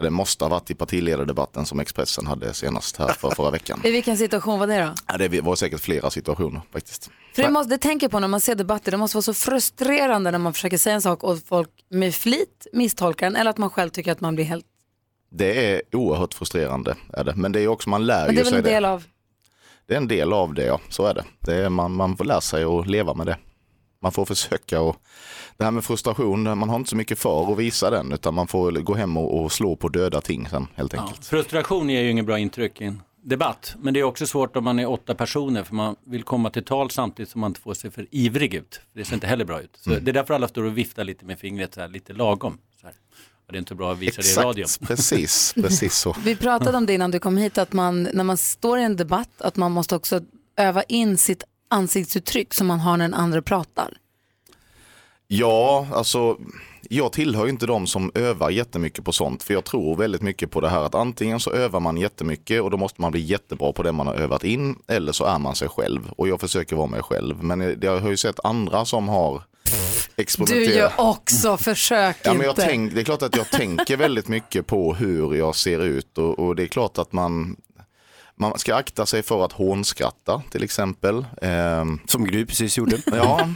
J: Det måste ha varit i partiledardebatten som Expressen hade senast här för förra veckan.
A: I vilken situation var det då?
J: Ja, det var säkert flera situationer faktiskt.
A: För det, måste, det tänker jag på när man ser debatter, det måste vara så frustrerande när man försöker säga en sak och folk med flit misstolkar den eller att man själv tycker att man blir helt...
J: Det är oerhört frustrerande. Är det. Men det är också, man
A: Men
J: lär
A: det
J: ju
A: är väl
J: sig
A: en del
J: det.
A: av...
J: Det är en del av det, ja. Så är det. det är, man, man får lära sig att leva med det. Man får försöka och det här med frustration, man har inte så mycket för att visa den utan man får gå hem och, och slå på döda ting sen helt enkelt.
F: Frustration ger ju inget bra intryck i en debatt. Men det är också svårt om man är åtta personer för man vill komma till tal samtidigt som man inte får se för ivrig ut. Det ser inte heller bra ut. Så
J: Mm.
F: Det är därför alla står och viftar lite med fingret så här, lite lagom. Så här. Och det är inte bra att visa det i
J: Exakt,
F: radion.
J: precis, precis så.
A: Vi pratade om det innan du kom hit, att man, när man står i en debatt, att man måste också öva in sitt ansiktsuttryck som man har när den andra pratar.
J: Ja, alltså jag tillhör ju inte de som övar jättemycket på sånt. För jag tror väldigt mycket på det här att antingen så övar man jättemycket och då måste man bli jättebra på det man har övat in. Eller så är man sig själv och jag försöker vara mig själv. Men jag- jag har ju sett andra som har experimenterat.
A: Du gör också, försök
J: Ja,
A: inte.
J: men jag tänk, det är klart att jag tänker väldigt mycket på hur jag ser ut och, och det är klart att man, man ska akta sig för att hånskratta till exempel. Ehm,
B: Som Gry precis gjorde.
J: Ja.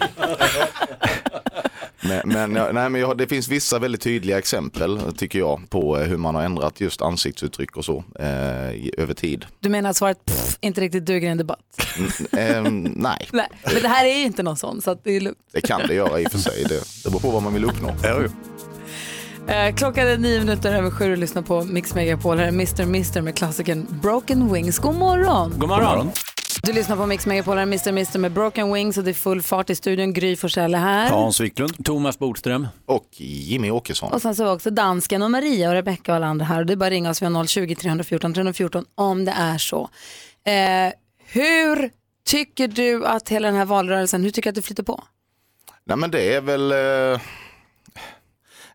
J: men men, jag- nej, men jag, det finns vissa väldigt tydliga exempel tycker jag på eh, hur man har ändrat just ansiktsuttryck och så eh, i- över tid.
A: Du menar att svaret pff, inte riktigt duger i en debatt?
J: Mm, eh, nej,
A: Nej, men det här är ju inte någon sån, så att det är lugnt.
J: det kan det göra i och för sig. Det, det beror på vad man vill uppnå.
A: Eh, klockan är nio minuter över sju och lyssnar på Mix Megapol. Här är Mr. Mister med klassikern Broken Wings. God morgon!
F: God morgon.
A: Du lyssnar på Mix Megapol, här är Mr. Mister med Broken Wings och det är full fart i studion. Gry Forssell är här.
B: Wiklund.
F: Thomas Bodström.
J: Och Jimmy Åkesson.
A: Och sen så är också dansken och Maria och Rebecka och alla andra här. Och det är bara att ringa oss, vi har 020 314 314 om det är så. Eh, hur tycker du att hela den här valrörelsen, hur tycker du att det flyter på?
J: Nej men det är väl, eh,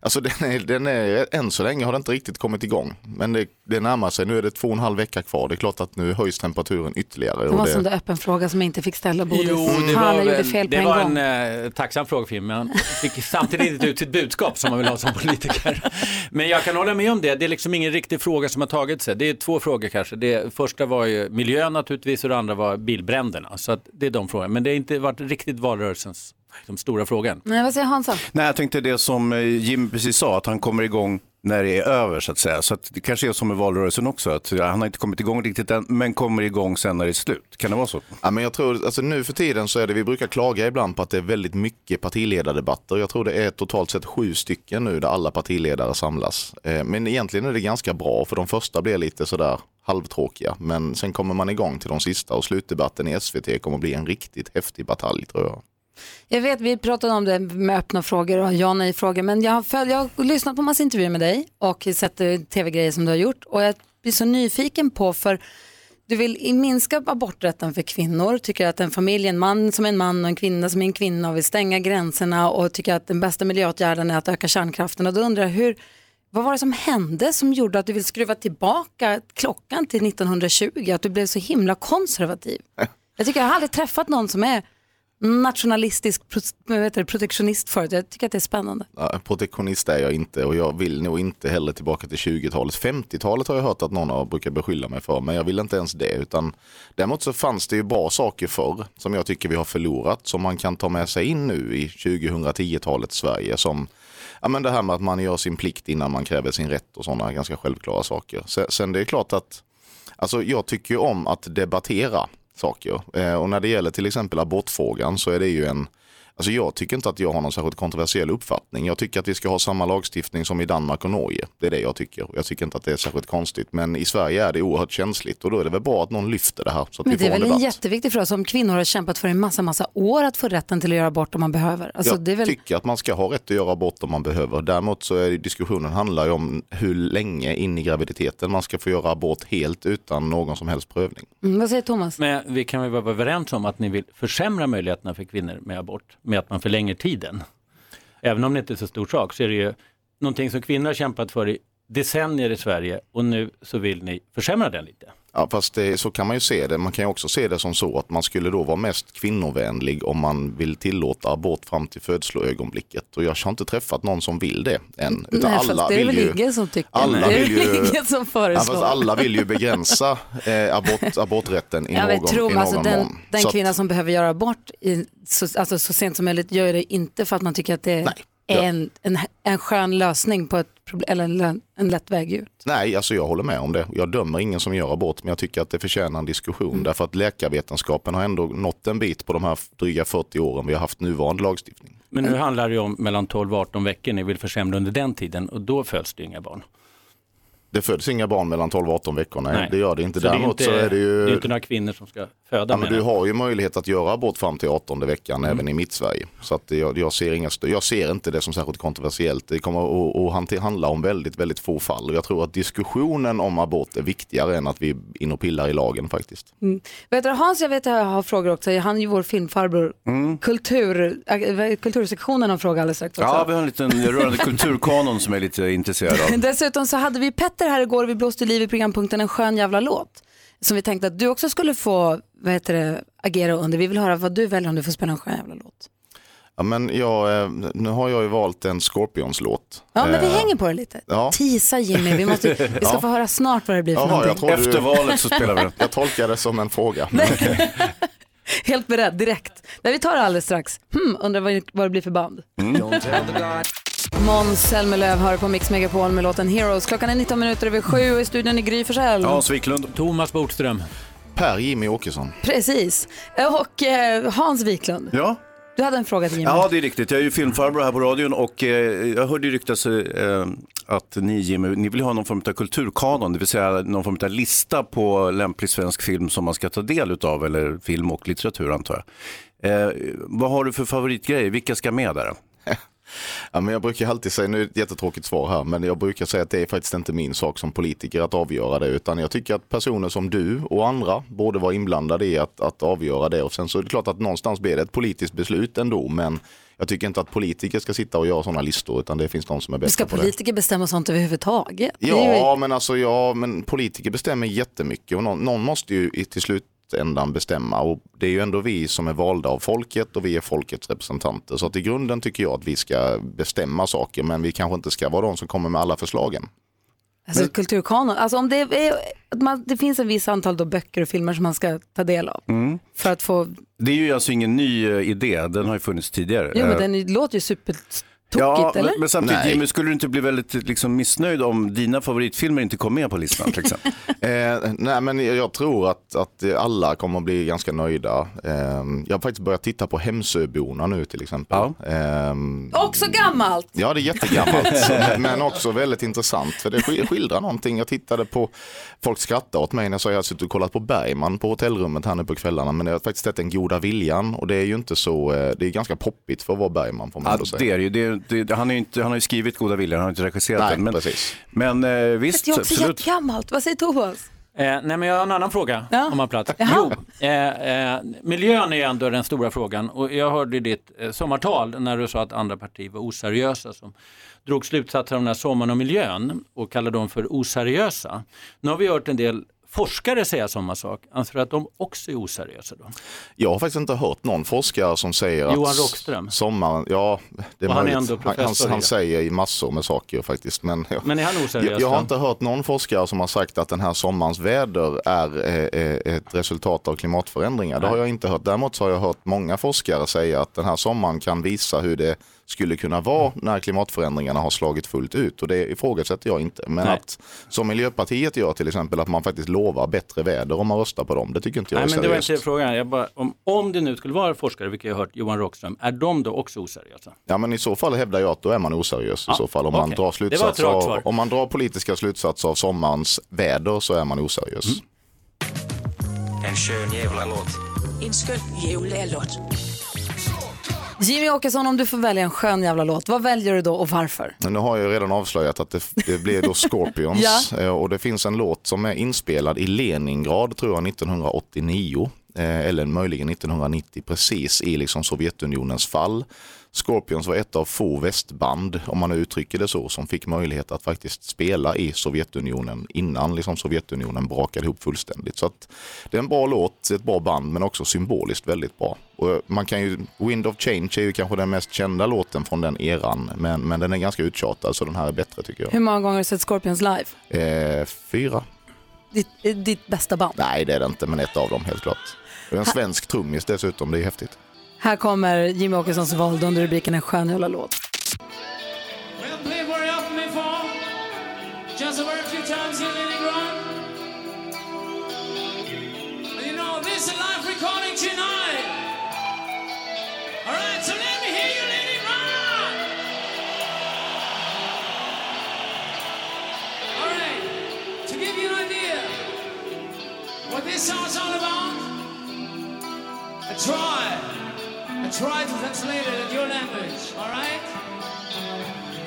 J: alltså den är, den är, än så länge har den inte riktigt kommit igång. Men det, det närmar sig, nu är det två och en halv vecka kvar. Det är klart att nu höjs temperaturen ytterligare.
A: Det
J: Och
A: var en sån
J: det,
A: där öppen fråga som jag inte fick ställa Bodis.
F: Jo, det
A: Han
F: var,
A: gjorde
F: väl-
A: fel på
F: det
A: en
F: var
A: gång.
F: en eh, tacksam fråga för Jim, men han fick samtidigt inte ut sitt budskap som man vill ha som politiker. Men jag kan hålla med om det, det är liksom ingen riktig fråga som har tagit sig. Det är två frågor kanske. Det första var ju miljön naturligtvis och det andra var bilbränderna. Så att det är de frågorna. Men det har inte varit riktigt valrörelsens liksom, stora frågan.
A: Nej, vad säger Hansa?
B: Nej, jag tänkte det som eh, Jim precis sa, att han kommer igång när det är över så att säga. Så att det kanske är som med valrörelsen också, att eh, han har inte kommit igång riktigt än, men kommer igång sen när det är slut. Kan det vara så?
J: ja, men jag tror, alltså nu för tiden så är det, vi brukar klaga ibland på att det är väldigt mycket partiledardebatter. Jag tror det är totalt sett sju stycken nu där alla partiledare samlas. Eh, Men egentligen är det ganska bra för de första blir lite sådär halvtråkiga. Men sen kommer man igång till de sista och slutdebatten i SVT kommer bli en riktigt häftig batalj tror jag.
A: Jag vet, vi pratade om det med öppna frågor och ja nej frågor, men jag har, följ, jag har lyssnat på massa intervjuer med dig och sett eh, tv-grejer som du har gjort och jag blir så nyfiken på för du vill i- minska aborträtten för kvinnor, tycker att en familj, en man som är en man och en kvinna som är en kvinna och vill stänga gränserna och tycker att den bästa miljöåtgärden är att öka kärnkraften och då undrar jag hur, vad var det som hände som gjorde att du vill skruva tillbaka klockan till 1920, att du blev så himla konservativ? Jag tycker jag har aldrig träffat någon som är nationalistisk pro- vad heter det, protektionist förut. Jag tycker att det är spännande.
J: Nej, Protektionist är jag inte och jag vill nog inte heller tillbaka till 20-talet. 50-talet har jag hört att någon av brukar beskylla mig för, men jag vill inte ens det. Utan, däremot så fanns det ju bra saker förr som jag tycker vi har förlorat, som man kan ta med sig in nu i 2010-talets Sverige. Som ja, men det här med att man gör sin plikt innan man kräver sin rätt och sådana ganska självklara saker. Se- Sen det är klart att Alltså jag tycker ju om att debattera saker. Eh, och när det gäller till exempel abortfrågan så är det ju en Alltså jag tycker inte att jag har någon särskilt kontroversiell uppfattning. Jag tycker att vi ska ha samma lagstiftning som i Danmark och Norge. Det är det jag tycker. Jag tycker inte att det är särskilt konstigt. Men i Sverige är det oerhört känsligt och då är det väl bra att någon lyfter det här så att
A: Men
J: vi
A: det är
J: får
A: väl
J: en
A: en
J: debatt.
A: jätteviktig fråga som kvinnor har kämpat för i massa, massa år att få rätten till att göra abort om man behöver. Alltså,
J: jag
A: det är väl...
J: tycker att man ska ha rätt att göra abort om man behöver. Däremot så är det- diskussionen handlar ju om hur länge in i graviditeten man ska få göra abort helt utan någon som helst prövning.
A: mm, vad säger Thomas?
F: Men vi kan väl vara överens om att ni vill försämra möjligheterna för kvinnor med abort med att man förlänger tiden. Även om det inte är så stor sak så är det ju någonting som kvinnor har kämpat för i decennier i Sverige och nu så vill ni försämra den lite.
J: Ja, fast det, så kan man ju se det. Man kan ju också se det som så att man skulle då vara mest kvinnovänlig om man vill tillåta abort fram till födsloögonblicket. Och jag har inte träffat någon som vill det än. Utan
A: Nej,
J: alla
A: fast det är
J: vill
A: väl
J: ju...
A: ingen som tycker
J: alla
A: det. är
J: vill ju-
A: väl ingen som
J: Ja,
A: föreslår.
J: fast alla vill ju begränsa eh, abort, aborträtten i
A: Ja, men
J: någon,
A: tro, mig,
J: i någon
A: alltså, den,
J: mån.
A: den
J: Så att-
A: kvinna som behöver göra abort i, så, alltså, så sent som möjligt gör det inte för att man tycker att det är
J: Ja.
A: en, en, en skön lösning på ett problem, eller en, lön- en lätt väg ut.
J: Nej, alltså jag håller med om det. Jag dömer ingen som gör abort, men jag tycker att det förtjänar en diskussion. Därför att läkarvetenskapen har ändå nått en bit på de här dryga 40 åren vi har haft nuvarande lagstiftning.
F: Men nu handlar det ju om mellan 12 och 18 veckor ni vill försämra under den tiden och då föds det ju inga barn.
J: Det föds inga barn mellan 12 och 18 veckor, nej, det gör det inte.
F: Så
J: Däremot så är det ju...
F: Det är inte några kvinnor som ska föda
J: Ja,
F: menar
J: men
F: jag.
J: du har ju möjlighet att göra abort fram till 18 veckan även i mitt Sverige. Så att jag, jag, ser inga stö- jag ser inte det som särskilt kontroversiellt. Det kommer att, att hante- handla om väldigt, väldigt få fall. Och Jag tror att diskussionen om abort är viktigare än att vi är in och pillar i lagen faktiskt.
A: Mm. Vet du, Hans, jag vet att jag har frågor också. Han är ju vår filmfarbror.
J: Mm.
A: Kultur, äh, kultursektionen har en fråga alldeles strax också.
B: Ja, vi har en liten rörande kulturkanon som jag är lite intresserad av.
A: Dessutom så hade vi Petter här igår, vi blåste liv i programpunkten En skön jävla låt. Som vi tänkte att du också skulle få vad heter det, agera under. Vi vill höra vad du väljer om du får spela en skön jävla låt.
J: Ja, men jag, eh, nu har jag ju valt en Scorpions-låt.
A: Ja, men vi
J: Eh,
A: hänger på det lite.
J: Ja.
A: Tisa Jimmy, vi, måste, vi ska
J: Ja.
A: få höra snart vad det blir för
J: Jaha, jag
A: någonting.
J: trodde du- Jag tolkar det som en fråga.
A: Helt beredd, direkt. Nej, vi tar det alldeles strax. Hmm, undrar vad, vad det blir för band.
B: Mm.
A: Måns Zelmerlöw hör på Mix Megapol med låten Heroes. Klockan är 19 minuter över sju och i studion är Gry Forssell.
B: Wiklund.
F: Thomas Bodström.
J: Per Jimmy Åkesson.
A: Precis. Och eh, Hans Wiklund,
B: Ja.
A: du hade en fråga till Jimmy.
B: Ja, det är riktigt. Jag är ju filmfarbror här på radion och eh, jag hörde ju ryktas eh, att ni, Jimmy, ni vill ha någon form av kulturkanon, det vill säga någon form av lista på lämplig svensk film som man ska ta del av, eller film och litteratur antar jag. Eh, vad har du för favoritgrejer? Vilka ska med där?
J: Ja, men jag brukar alltid säga, nu är det ett jättetråkigt svar här, men jag brukar säga att det är faktiskt inte min sak som politiker att avgöra det, utan jag tycker att personer som du och andra borde vara inblandade i att, att avgöra det. Och sen så är det klart att någonstans blir det ett politiskt beslut ändå, men jag tycker inte att politiker ska sitta och göra sådana listor, utan det finns de som är
A: Men Ska
J: bättre på det.
A: politiker bestämma sånt överhuvudtaget? Det är ju-
J: Ja, men alltså ja, men politiker bestämmer jättemycket och någon, någon måste ju i- till slutändan bestämma och det är ju ändå vi som är valda av folket och vi är folkets representanter. Så att i grunden tycker jag att vi ska bestämma saker, men vi kanske inte ska vara de som kommer med alla förslagen.
A: Alltså kulturkanon, alltså om det, är, att man, det finns en viss antal då böcker och filmer som man ska ta del av
B: Mm.
A: för att få,
B: Det är ju alltså ingen ny eh, idé, den har ju funnits tidigare.
A: jo
B: Eh,
A: men den låter ju supertokigt
B: Ja, men,
A: eller?
B: men samtidigt Jimmy, skulle du inte bli väldigt liksom, missnöjd om dina favoritfilmer inte kom med på listan till exempel?
J: Eh, nej, men jag- jag tror att, att alla kommer att bli ganska nöjda. Eh, jag har faktiskt börjat titta på Hemsöborna nu till exempel. Ehm,
A: Också gammalt!
J: Ja, det är jättegammalt, men också väldigt intressant. För det sk- skildrar någonting. Jag tittade på, folk skrattar åt mig när jag sa att jag hade suttit och kollat på Bergman på hotellrummet här nu på kvällarna. Men jag har faktiskt sett den goda viljan och det är ju inte så, eh, det är ganska poppigt för att vara Bergman får man
B: Ja,
J: ändå säga.
B: det är det ju. Det är, det, han, är ju inte, han har ju skrivit Goda viljan, han har inte regisserat
J: Nej,
B: den. Men, men eh, visst,
A: Det är också
B: absolut.
A: jättegammalt, vad säger Thomas?
F: Eh, nej, men jag har en annan fråga om man plats.
A: Jaha.
F: Jo, eh, eh, miljön är ju ändå den stora frågan och jag hörde i ditt eh, sommartal när du sa att andra partier var oseriösa som drog slutsatser om den här sommaren och miljön och kallade dem för oseriösa. Nu har vi hört en del forskare säga samma sak. Anser du att de också är oseriösa då?
J: Jag har faktiskt inte hört någon forskare som säger att...
F: Johan Rockström.
J: Sommaren, ja, det är
F: Och han är
J: möjligt.
F: ändå
J: han, han,
F: professor i
J: han
F: det.
J: säger ju massor med saker faktiskt. Men,
F: Men är han oseriös
J: Jag, jag har
F: då?
J: inte hört någon forskare som har sagt att den här sommarens väder är eh, eh, ett resultat av klimatförändringar. Det har jag inte hört. Däremot så har jag hört många forskare säga att den här sommaren kan visa hur det skulle kunna vara
F: Mm.
J: när klimatförändringarna har slagit fullt ut och det ifrågasätter jag inte. Men
F: Nej.
J: att som Miljöpartiet gör till exempel att man faktiskt lovar bättre väder om man röstar på dem, det tycker inte jag
F: Nej,
J: är
F: men det var
J: seriöst.
F: inte frågan. Jag bara, om, om det nu skulle vara forskare, vilket jag har hört, Johan Rockström, är de då också oseriösa?
J: Ja men i så fall hävdar jag att då är man oseriös i så fall. Om man,
F: okej.
J: drar
F: Det var ett
J: slutsatser
F: rakt
J: av,
F: svar.
J: om man drar politiska slutsatser av sommarens väder så är man oseriös.
F: Mm.
K: En skön jävla låt.
L: En skön jävla låt.
A: Jimmy Åkesson, om du får välja en skön jävla låt, vad väljer du då och varför?
J: Men nu har jag ju redan avslöjat att det, det blir då Scorpions
A: Ja.
J: Eh, och det finns en låt som är inspelad i Leningrad tror jag 1989 eh, eller möjligen 1990 precis i liksom Sovjetunionens fall. Scorpions var ett av få västband, om man nu uttrycker det så, som fick möjlighet att faktiskt spela i Sovjetunionen innan liksom Sovjetunionen brakade ihop fullständigt. Så att det är en bra låt, ett bra band, men också symboliskt väldigt bra. Och man kan ju, Wind of Change är ju kanske den mest kända låten från den eran, men, men den är ganska uttjatad så den här är bättre tycker
A: Hur
J: jag.
A: många gånger har du sett Scorpions live?
J: Eh, fyra?
A: Ditt, eh, ditt bästa band.
J: Nej, det är det inte, men ett av dem helt klart. Det är en svensk trummis dessutom, det är häftigt.
A: Här kommer Jimmy Åkessons vald under rubriken En skön jävla låt.
M: Play where up may fall. Just over a few times in Leningrad. And you know, this is a live recording tonight. All right, so let me hear you, Leningrad. All right, to give you an idea what this song's all about, I try. I try to translate it in your language, all right?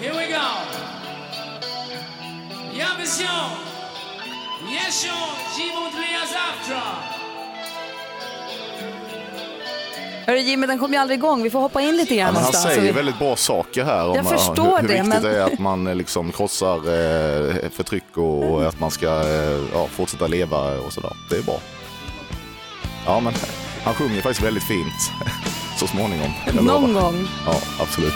M: Here we go. Я без нього. Еще живут ли я завтра?
A: Hörru Jimmy, den kom ju aldrig igång. Vi får hoppa in lite
J: Ja,
A: grann
J: men han
A: någonstans.
J: säger
A: Så alltså, vi-
J: väldigt bra saker här om
A: Jag
J: eh,
A: förstår
J: hur, hur
A: det,
J: viktigt
A: men-
J: det är att man eh, liksom krossar eh, förtryck och, och att man ska eh, ja, fortsätta leva och sådär. Det är bra. Ja, men han sjunger faktiskt väldigt fint så småningom. jag lovar.
A: Någon gång.
J: Ja, absolut.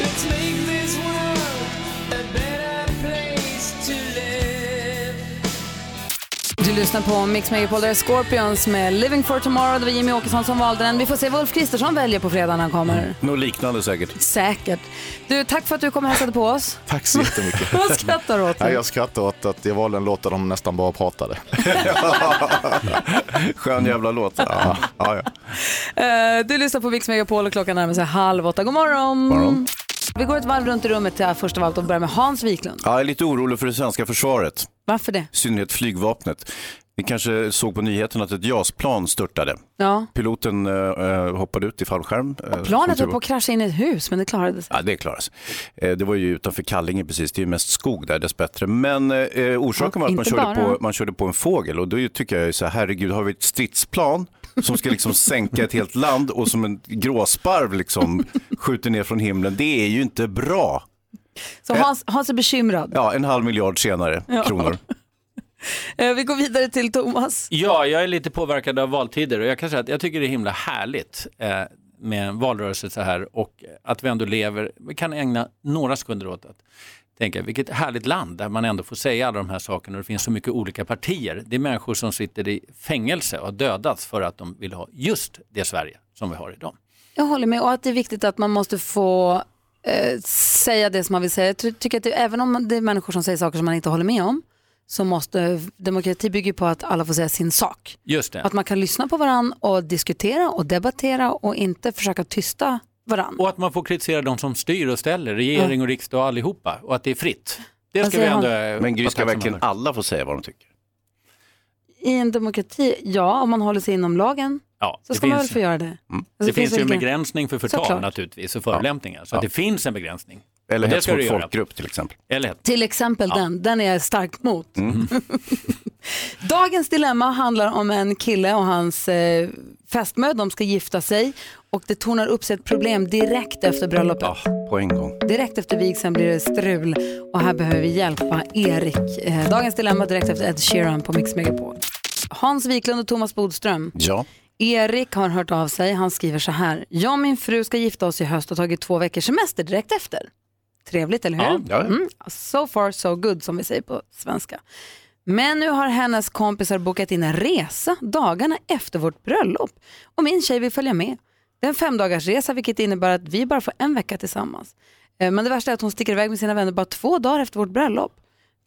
M: Let's make this world a better place to live.
A: Du lyssnar på Mix Megapol, där är Scorpions med Living for Tomorrow. Det var Jimmy Åkesson som valde den. Vi får se vad Ulf Kristersson väljer på fredag när han
J: Mm.
A: kommer.
B: Något liknande säkert.
A: Säkert. Du, tack för att du kom och hälsade på oss.
J: Tack så jättemycket.
A: Vad skrattar du åt?
J: Nej, jag skrattar åt att jag valde en låt där de nästan bara pratade.
B: Skön jävla låt.
J: Ja, ja, ja.
A: Eh, Du lyssnar på Mix Megapol och klockan närmar sig halv åtta. God morgon. Mm. Vi går ett varv runt i rummet till första av allt och börjar med Hans Wiklund.
B: Ja, jag är lite orolig för det svenska försvaret.
A: Varför det?
B: I synnerhet flygvapnet. Ni kanske såg på nyheten att ett JAS-plan störtade.
A: Ja.
B: Piloten eh, hoppade ut i fallskärm. eh, som
A: Planet
B: tur
A: höll
B: var.
A: på att krascha in i ett hus, men det klarade sig.
B: Ja, det klaras. Eh, Det var ju utanför Kallinge precis, det är ju mest skog där dessbättre. Men eh, orsaken var att man
A: inte
B: körde,
A: bara.
B: på, man körde på en fågel och då tycker jag ju så här, herregud, har vi ett stridsplan som ska liksom sänka ett helt land och som en gråsparv liksom skjuter ner från himlen, det är ju inte bra.
A: Så Hans, Hans är bekymrad.
B: Ja, en halv miljard senare,
A: Ja.
B: kronor.
A: Eh, Vi går vidare till Thomas.
F: Ja, jag är lite påverkad av valtider och jag kan säga att jag tycker det är himla härligt eh, med en valrörelse så här och att vi ändå lever, vi kan ägna några sekunder åt att tänka vilket härligt land där man ändå får säga alla de här sakerna och det finns så mycket olika partier. Det är människor som sitter i fängelse och har dödats för att de vill ha just det Sverige som vi har idag.
A: Jag håller med och att det är viktigt att man måste få eh, säga det som man vill säga. Jag ty- tycker att det, även om det är människor som säger saker som man inte håller med om så måste demokrati bygger på att alla får säga sin sak.
F: Just det.
A: Att man kan lyssna på varandra och diskutera och debattera och inte försöka tysta varandra.
F: Och att man får kritisera de som styr och ställer, regering och riksdag och allihopa och att det är fritt. Det
A: Vad
F: ska vi
A: säger
F: ändå
A: han?
B: Men Gry, ska
F: vara tacksamma
B: verkligen
F: för.
B: alla få säga vad de tycker?
A: I en demokrati, ja, om man håller sig inom lagen
F: Ja,
A: så
F: det
A: ska man väl
F: finns-
A: få
F: Mm.
A: göra det. Alltså,
F: det, finns, ju en
A: vilken-
F: begränsning för förtal
A: Såklart.
F: naturligtvis och förolämpningar. Så
B: Ja.
F: att det finns en begränsning.
B: Eller
F: Och det
B: hets
F: ska
B: mot
F: du göra.
B: folkgrupp till exempel.
F: Eller hets.
A: Till exempel
F: Ja. Mm.
A: den, den är jag starkt mot. Dagens dilemma handlar om en kille och hans eh, fästmö. De ska gifta sig och det tornar upp sig ett problem direkt efter bröllopet.
B: På en gång.
A: Direkt efter vigseln blir det strul och här behöver vi hjälpa Erik. Eh, Dagens dilemma direkt efter Ed Sheeran på Mix Megapol. Hans Wiklund och Thomas Bodström.
B: Ja.
A: Erik har hört av sig. Han skriver så här. Jag och min fru ska gifta oss i höst och tagit två veckors semester direkt efter. Trevligt, eller hur?
M: Ja, ja, ja.
A: Mm. So far so good, som vi säger på svenska. Men nu har hennes kompisar bokat in en resa dagarna efter vårt bröllop och min tjej vill följa med. Det är en femdagarsresa vilket innebär att vi bara får en vecka tillsammans. Eh, Men det värsta är att hon sticker iväg med sina vänner bara två dagar efter vårt bröllop.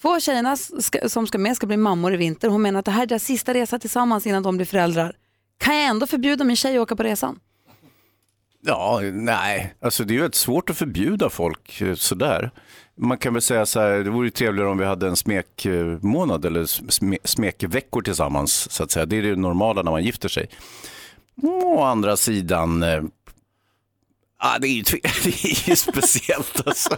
A: Två av tjejerna ska, som ska med ska bli mammor i vinter. Hon menar att det här är deras sista resa tillsammans innan de blir föräldrar. Kan jag ändå förbjuda min tjej att åka på resan?
B: Ja, nej, alltså det är ju väldigt svårt att förbjuda folk eh, sådär. Man kan väl säga så här, det vore ju trevligare om vi hade en smekmånad eller sme- smekveckor tillsammans så att säga. Det är det normala när man gifter sig. Å andra sidan, eh, Ah, det, är ju, tve- det är ju speciellt alltså.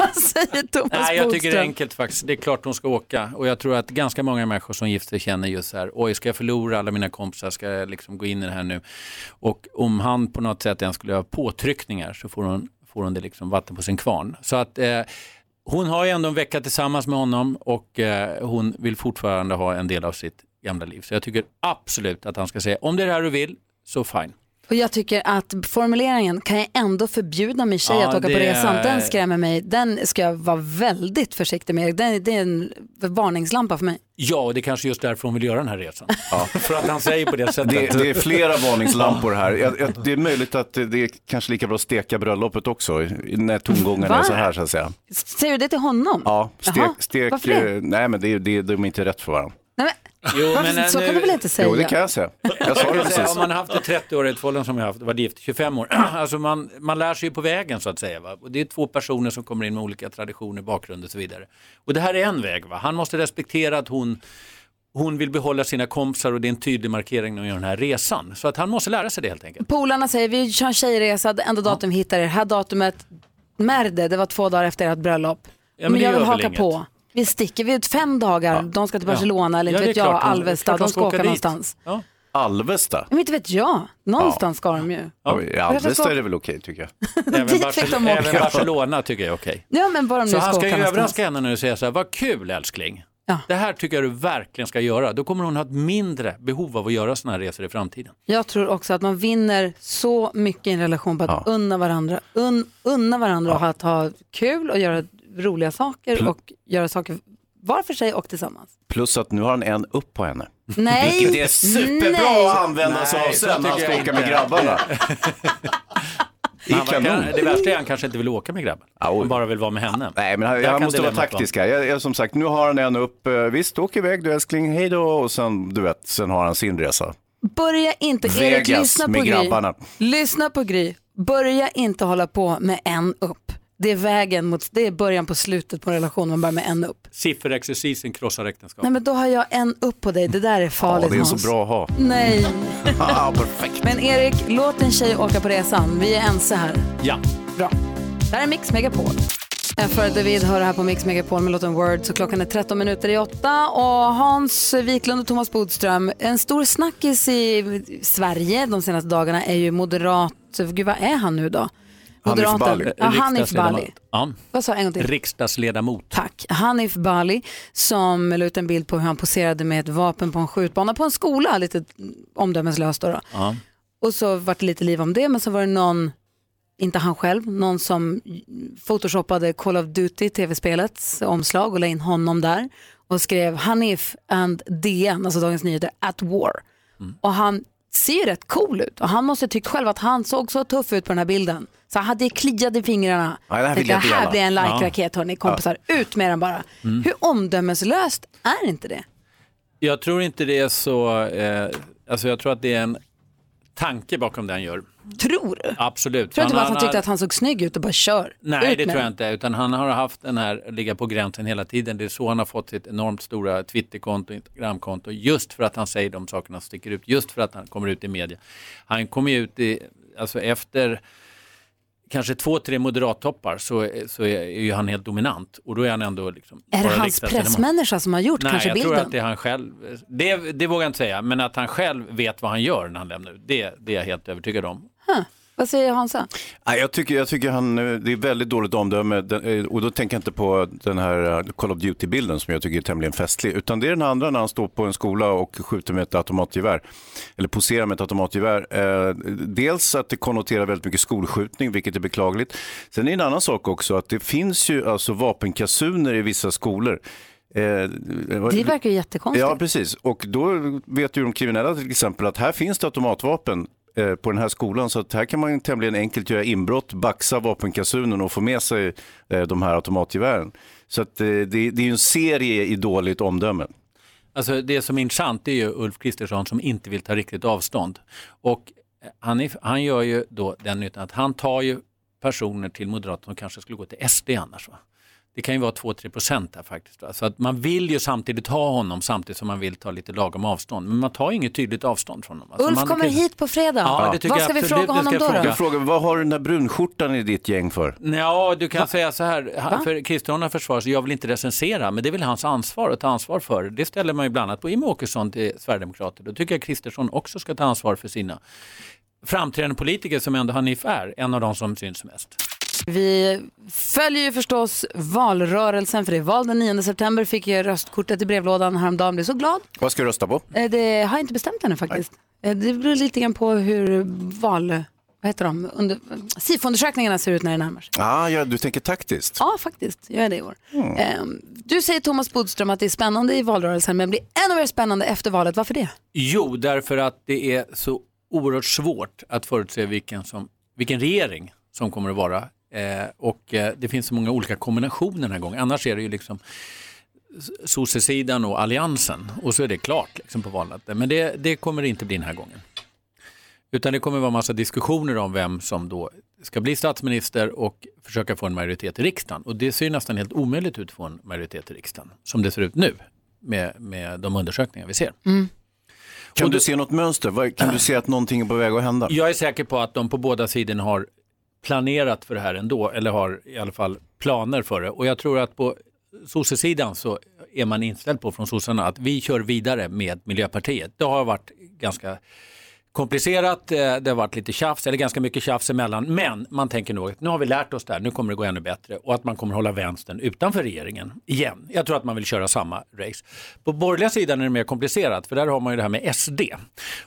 N: Vad säger Thomas
F: Nej, jag tycker det är
N: Bodström?
F: enkelt faktiskt. Det är klart hon ska åka och jag tror att ganska många människor som gifter sig känner just så här, oj ska jag förlora alla mina kompisar, ska jag liksom gå in i det här nu? Och om han på något sätt ens skulle göra påtryckningar så får hon, får hon det liksom vatten på sin kvarn. Så att eh, hon har ju ändå en vecka tillsammans med honom och eh, hon vill fortfarande ha en del av sitt gamla liv. Så jag tycker absolut att han ska säga, om det är det här du vill, så fine.
A: Och jag tycker att formuleringen, kan jag ändå förbjuda min tjej
F: Ja,
A: att åka på
F: det är-
A: resan, den skrämmer mig. Den ska jag vara väldigt försiktig med. Den, det är en varningslampa för mig.
F: Ja, och det är kanske just därför hon vill göra den här resan. För att han säger på det sättet.
B: Det, det är flera varningslampor här. Jag, jag, det är möjligt att det är kanske lika bra att steka bröllopet också, i- när tongångarna är
A: Va?
B: så här så att säga.
A: Säger du det till honom?
B: Ja, stek,
A: Jaha,
B: stek,
A: varför det?
B: eh, nej men det, är- det, är- de är inte rätt för varandra.
A: Nej, men, varför, så kan du väl inte säga?
B: Jo, det kan jag säga. Jag sa det
F: Jag säga,
B: precis.
F: om man har haft ett 30-årigt förhållande som jag har haft, varit gift i 25 år, alltså man, man lär sig ju på vägen så att säga. Va? Och det är två personer som kommer in med olika traditioner, bakgrund och så vidare. Och det här är en väg, va? han måste respektera att hon, hon vill behålla sina kompisar och det är en tydlig markering när hon gör den här resan. Så att han måste lära sig det helt enkelt.
A: Polarna säger vi kör en tjejresa, det enda datum vi hittar är det här datumet. Merde, det var två dagar efter ert bröllop. men
F: men det
A: jag
F: gör
A: vill
F: väl
A: haka
F: inget.
A: på. Vi sticker, vi är ut fem dagar, de ska till Barcelona eller
B: Ja,
A: inte
B: det är
A: vet jag,
B: klart de- det
A: Alvesta,
B: är klart
A: de ska åka
B: dit.
A: någonstans.
B: Alvesta?
A: Men inte vet jag, någonstans ska de ju.
B: Ja, i Alvesta
A: ska-
B: är det väl okej tycker jag.
F: Även,
A: Dit fick de åka.
F: även Barcelona tycker jag är okej.
A: Ja men var de nu
F: Så han
A: ska
F: ska
A: åka
F: ju
A: någonstans.
F: överraska henne nu och säga så här, vad kul älskling. Det här tycker jag du verkligen ska göra. Då kommer hon ha ett mindre behov av att göra sådana här resor i framtiden.
A: Jag tror också att man vinner så mycket i en relation på att unna varandra, un, unna varandra och att ha kul och göra roliga saker
B: Pl-
A: och göra saker var för sig och tillsammans.
B: Plus att nu har han en upp på henne.
A: Nej,
B: Vilket är superbra
A: nej.
B: att använda sig av
F: Nej, så
B: sen när han
F: tycker
B: ska
F: jag
B: åka med
F: inte.
B: grabbarna.
F: Han verkar-
B: kanon.
F: Det värsta är att han kanske inte vill åka med grabben. Han bara vill vara med henne.
B: Nej, men han,
F: Där
B: han
F: kan
B: måste vara
F: dilemmat
B: taktisk här. Jag, jag, som sagt, nu har han en upp. eh, Visst, åk iväg du älskling, hej då. Och sen, du vet, sen har han sin resa.
A: Börja inte, Erik,
B: Vegas
A: lyssna på
B: med
A: Gry.
B: grabbarna.
A: Lyssna på Gry. Börja inte hålla på med en upp. Det är vägen mot, det är början på slutet på en relation, man börjar med en upp.
F: Sifferexercisen krossar äktenskap.
A: Nej men då har jag en upp på dig, det där är farligt Hans.
B: att ha.
A: Nej.
B: ah, perfekt.
A: Men Erik, låt en tjej åka på resan, vi är ense här.
F: Ja. Eh,
A: Bra. Det här är Mix Megapol. Jag för David hör här på Mix Megapol med låten Word så klockan är 13 minuter i åtta och Hans Wiklund och Thomas Bodström, en stor snackis i Sverige de senaste dagarna är ju moderat, gud vad är han nu då? Moderaten. Ja, Hanif Bali.
F: Ja.
A: Vad sa jag en gång till?
F: Riksdagsledamot.
A: Tack. Hanif Bali som la ut en bild på hur han poserade med ett vapen på en skjutbana på en skola, lite omdömeslöst då. då.
F: Ja.
A: Och så vart det lite liv om det, men så var det någon, inte han själv, någon som photoshoppade Call of Duty, tv-spelets omslag och la in honom där och skrev Hanif and DN, alltså Dagens Nyheter, at war.
B: Mm.
A: Och han ser ju rätt cool ut och han måste ha tyckt själv att han såg så tuff ut på den här bilden. Så han hade kliade i fingrarna.
B: Ja, det här vill
A: Tänkte,
B: jag inte
A: "Det här
B: gärna."
A: blir en
B: Ja.
A: like-raket hörni kompisar, ut med den bara.
F: Mm.
A: Hur omdömeslöst är inte det?
F: Jag tror inte det är så, eh, alltså jag tror att det är en tanke bakom det han gör.
A: Tror du?
F: Absolut.
A: Tror du inte bara att han
F: har-
A: tyckte att han såg snygg ut och bara kör?
F: Nej,
A: ut med
F: det tror jag
A: den.
F: inte. Utan han har haft den här ligga på gränsen hela tiden. Det är så han har fått sitt enormt stora Twitterkonto och Instagramkonto. Just för att han säger de sakerna som sticker ut. Just för att han kommer ut i media. Han kom ju ut i, alltså efter kanske två, tre moderattoppar så, så är ju han helt dominant. Och då är han ändå liksom...
A: Är det
F: bara
A: hans
F: riksdagsledamot.
A: pressmänniska som har gjort
F: Nej,
A: kanske
F: jag
A: bilden?
F: tror att det är han själv. Det, det vågar jag inte säga, men att han själv vet vad han gör när han lämnar ut, det, det är jag helt övertygad om.
A: Vad säger Hansa?
B: Nej, jag tycker, jag tycker han, eh, det är väldigt dåligt omdöme Den, eh, och då tänker jag inte på den här eh, Call of Duty-bilden som jag tycker är tämligen festlig utan det är den andra när han står på en skola och skjuter med ett automatgevär eller poserar med ett automatgevär. Eh, Dels att det konnoterar väldigt mycket skolskjutning vilket är beklagligt. Sen är det en annan sak också att det finns ju alltså vapenkasuner i vissa skolor. Eh,
A: Det verkar ju jättekonstigt.
B: Ja, precis. Och då vet ju de kriminella till exempel att här finns det automatvapen eh, på den här skolan så att här kan man tämligen enkelt göra inbrott, baxa vapenkasunen och få med sig eh, de här automatgevären. Så att, eh, det, det är ju en serie i dåligt omdöme.
F: Alltså det som är intressant är ju Ulf Kristersson som inte vill ta riktigt avstånd. Och eh, han, är, han gör ju då den nyttan att han tar ju personer till Moderaterna som kanske skulle gå till SD annars. Va? Det kan ju vara 2-3 procent där faktiskt. va. Så att man vill ju samtidigt ha honom samtidigt som man vill ta lite lagom avstånd. Men man tar ju inget tydligt avstånd från honom. Alltså,
O: Ulf
F: man-
O: kommer hit på fredag.
F: Ja, det tycker
O: Vad
F: jag
O: ska vi
F: absolut.
O: fråga
F: Det ska
O: honom
F: jag
O: då?
F: fråga.
O: då?
B: Jag frågar, vad har den där brunskjortan i ditt gäng för?
F: Ja, du kan säga så här,
B: Va?
F: han, för Kristian försvar så jag vill inte recensera, men det är väl hans ansvar att ta ansvar för. Det ställer man ju bland annat på Jimmie Åkesson till Sverigedemokrater. Då tycker jag Kristersson också ska ta ansvar för sina framträdande politiker som ändå Hanif är, en av de som syns mest.
A: Vi följer ju förstås valrörelsen för det är val den 9 september. Fick jag röstkortet i brevlådan häromdagen, blev så glad.
B: Vad ska du rösta på?
A: Eh, Det har jag inte bestämt ännu faktiskt. Eh, Det beror lite grann på hur val... Vad heter de? Under, SIFO-undersökningarna ser ut när det närmar sig.
B: Ah, ja, du tänker taktiskt.
A: Ja, faktiskt. Jag är det i år.
B: Mm.
A: Eh, Du säger Thomas Bodström att det är spännande i valrörelsen men blir ännu mer spännande efter valet. Varför det?
F: Jo, därför att det är så oerhört svårt att förutse vilken, som, vilken regering som kommer att vara. Eh, och eh, det finns så många olika kombinationer den här gången. Annars är det ju liksom s- sossesidan och alliansen och så är det klart liksom på valnatten. Men det, det kommer det inte bli den här gången. Utan det kommer vara massa diskussioner om vem som då ska bli statsminister och försöka få en majoritet i riksdagen. Och det ser ju nästan helt omöjligt ut att få en majoritet i riksdagen, som det ser ut nu med, med de undersökningar vi ser.
B: Kan du se något mönster? Vad- Kan du se att någonting är på väg att hända?
F: Jag är säker på att de på båda sidorna har planerat för det här ändå, eller har i alla fall planer för det. Och jag tror att på sossesidan så är man inställd på från sossarna att vi kör vidare med Miljöpartiet. Det har varit ganska komplicerat, eh, det har varit lite tjafs, eller ganska mycket tjafs emellan, men man tänker nog att nu har vi lärt oss det här, nu kommer det gå ännu bättre och att man kommer hålla vänstern utanför regeringen igen. Jag tror att man vill köra samma race. På borgerliga sidan är det mer komplicerat, för där har man ju det här med SD.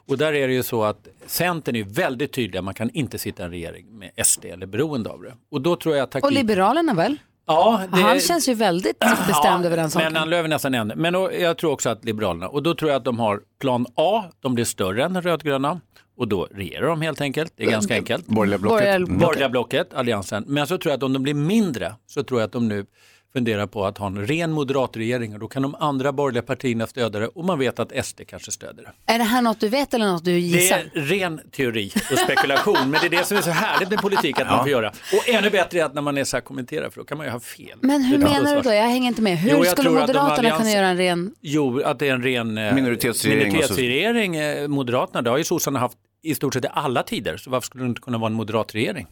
F: Och där är det ju så att Centern är ju väldigt tydliga, man kan inte sitta i en regering med SD eller beroende av det. Och då tror jag att
A: Och
F: taktiken...
A: Liberalerna väl?
F: Ja, det-
A: Han känns ju väldigt bestämd över den saken.
F: men han löver nästan en. Men och, jag tror också att Liberalerna, och då tror jag att de har plan A, de blir större än den rödgröna och då regerar de helt enkelt. Det är ganska enkelt. Borgerliga
A: blocket. Borgerliga blocket.
F: Borgerliga blocket, alliansen. Men så tror jag att om de blir mindre så tror jag att de nu funderar på att ha en ren moderatregering och då kan de andra borgerliga partierna stödja det och man vet att SD kanske stöder det.
A: Är det här något du vet eller något du
F: Det
A: gissar?
F: är ren teori och spekulation, men det är det som är så härligt med politik att man får göra. Och ännu bättre är att när man är så här kommenterar, för då kan man ju ha fel.
A: Men hur
F: Utan
A: menar du
F: ansvar.
A: då? Jag hänger inte med. Hur
F: Jo, jag
A: skulle
F: tror att de
A: Moderaterna kunna
F: allians-
A: göra en ren...
F: Jo, att det är en ren eh,
B: Minoritetsregering och så-
F: minoritetsregering, eh, Moderaterna. Det har ju sossarna haft i stort sett i alla tider, så varför skulle det inte kunna vara en moderatregering?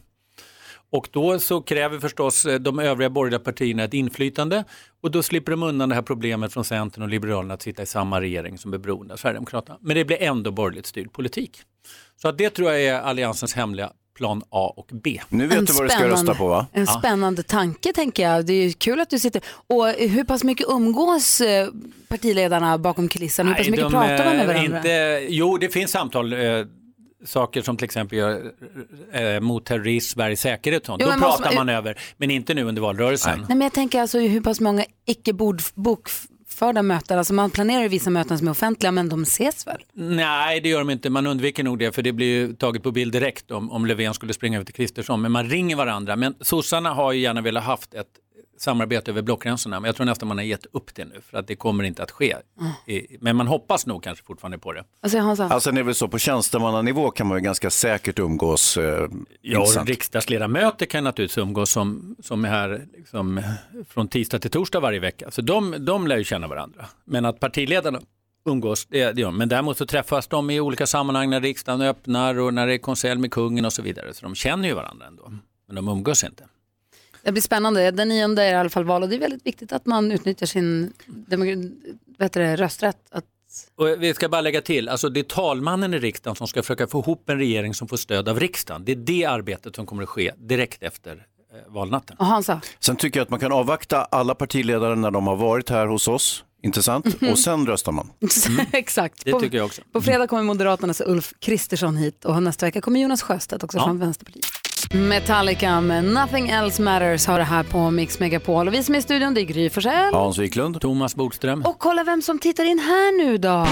F: Och då så kräver förstås eh, de övriga borgerliga partierna ett inflytande och då slipper de undan det här problemet från Centern och Liberalerna att sitta i samma regering som är beroende av Sverigedemokraterna. Men det blir ändå borgerligt styrd politik. Så att det tror jag är Alliansens hemliga plan A och B.
B: Mm. Nu vet
A: En
B: du vad du ska
A: spännande-
B: rösta på va?
A: En spännande tanke tänker jag. Det är ju kul att du sitter... Och hur pass mycket umgås eh, partiledarna bakom kulisserna? Hur pass mycket pratar man med
F: eh,
A: varandra?
F: Inte, jo, det finns samtal. Eh, saker som till exempel gör, eh, mot terrorism, Sveriges säkerhet och sånt.
A: Jo,
F: Då
A: men måste
F: pratar
A: man-
F: man över, men inte nu under valrörelsen.
A: Nej, men jag tänker alltså hur pass många icke bord- bokförda möten. Alltså man planerar ju vissa möten som är offentliga men de ses väl?
F: Nej, det gör de inte. Man undviker nog det, för det blir ju taget på bild direkt om, om Löfven skulle springa över till Kristersson. Men man ringer varandra. Men sossarna har ju gärna velat haft ett samarbete över blockgränserna, men jag tror nästan man har gett upp det nu, för att det kommer inte att ske.
A: Mm.
F: I, men man hoppas nog kanske fortfarande på det.
A: Alltså Hans Alm.
B: Alltså det är väl så på tjänstemannanivå kan man ju ganska säkert umgås. Eh,
F: Ja,
B: inte
F: och
B: sant?
F: riksdagsledamöter kan naturligtvis umgås som, som är här liksom, från tisdag till torsdag varje vecka. Så de, de lär ju känna varandra. Men att partiledarna umgås, det, det gör de. Men däremot så träffas de i olika sammanhang när riksdagen öppnar och när det är konselj med kungen och så vidare. Så de känner ju varandra ändå. Men de umgås inte.
A: Det blir spännande. Den nionde är i alla fall val och det är väldigt viktigt att man utnyttjar sin demok- vad heter det, rösträtt. Att,
F: Och vi ska bara lägga till, alltså det är talmannen i riksdagen som ska försöka få ihop en regering som får stöd av riksdagen. Det är det arbetet som kommer att ske direkt efter eh, valnatten.
A: och Hansa,
B: Sen tycker jag att man kan avvakta alla partiledare när de har varit här hos oss. Intressant.
A: Mhm.
B: Och sen röstar man.
A: exakt.
B: Mm. Det
A: på,
B: tycker jag också. Mm.
A: På fredag kommer Moderaternas Ulf Kristersson hit och nästa vecka kommer Jonas Sjöstedt också
B: Ja.
A: från Vänsterpartiet. Metallica med Nothing Else Matters har det här på Mix Megapol och vi som är i studion det är Gry Forssell.
B: Hans Wiklund.
F: Thomas Bodström.
A: Och kolla vem som tittar in här nu då.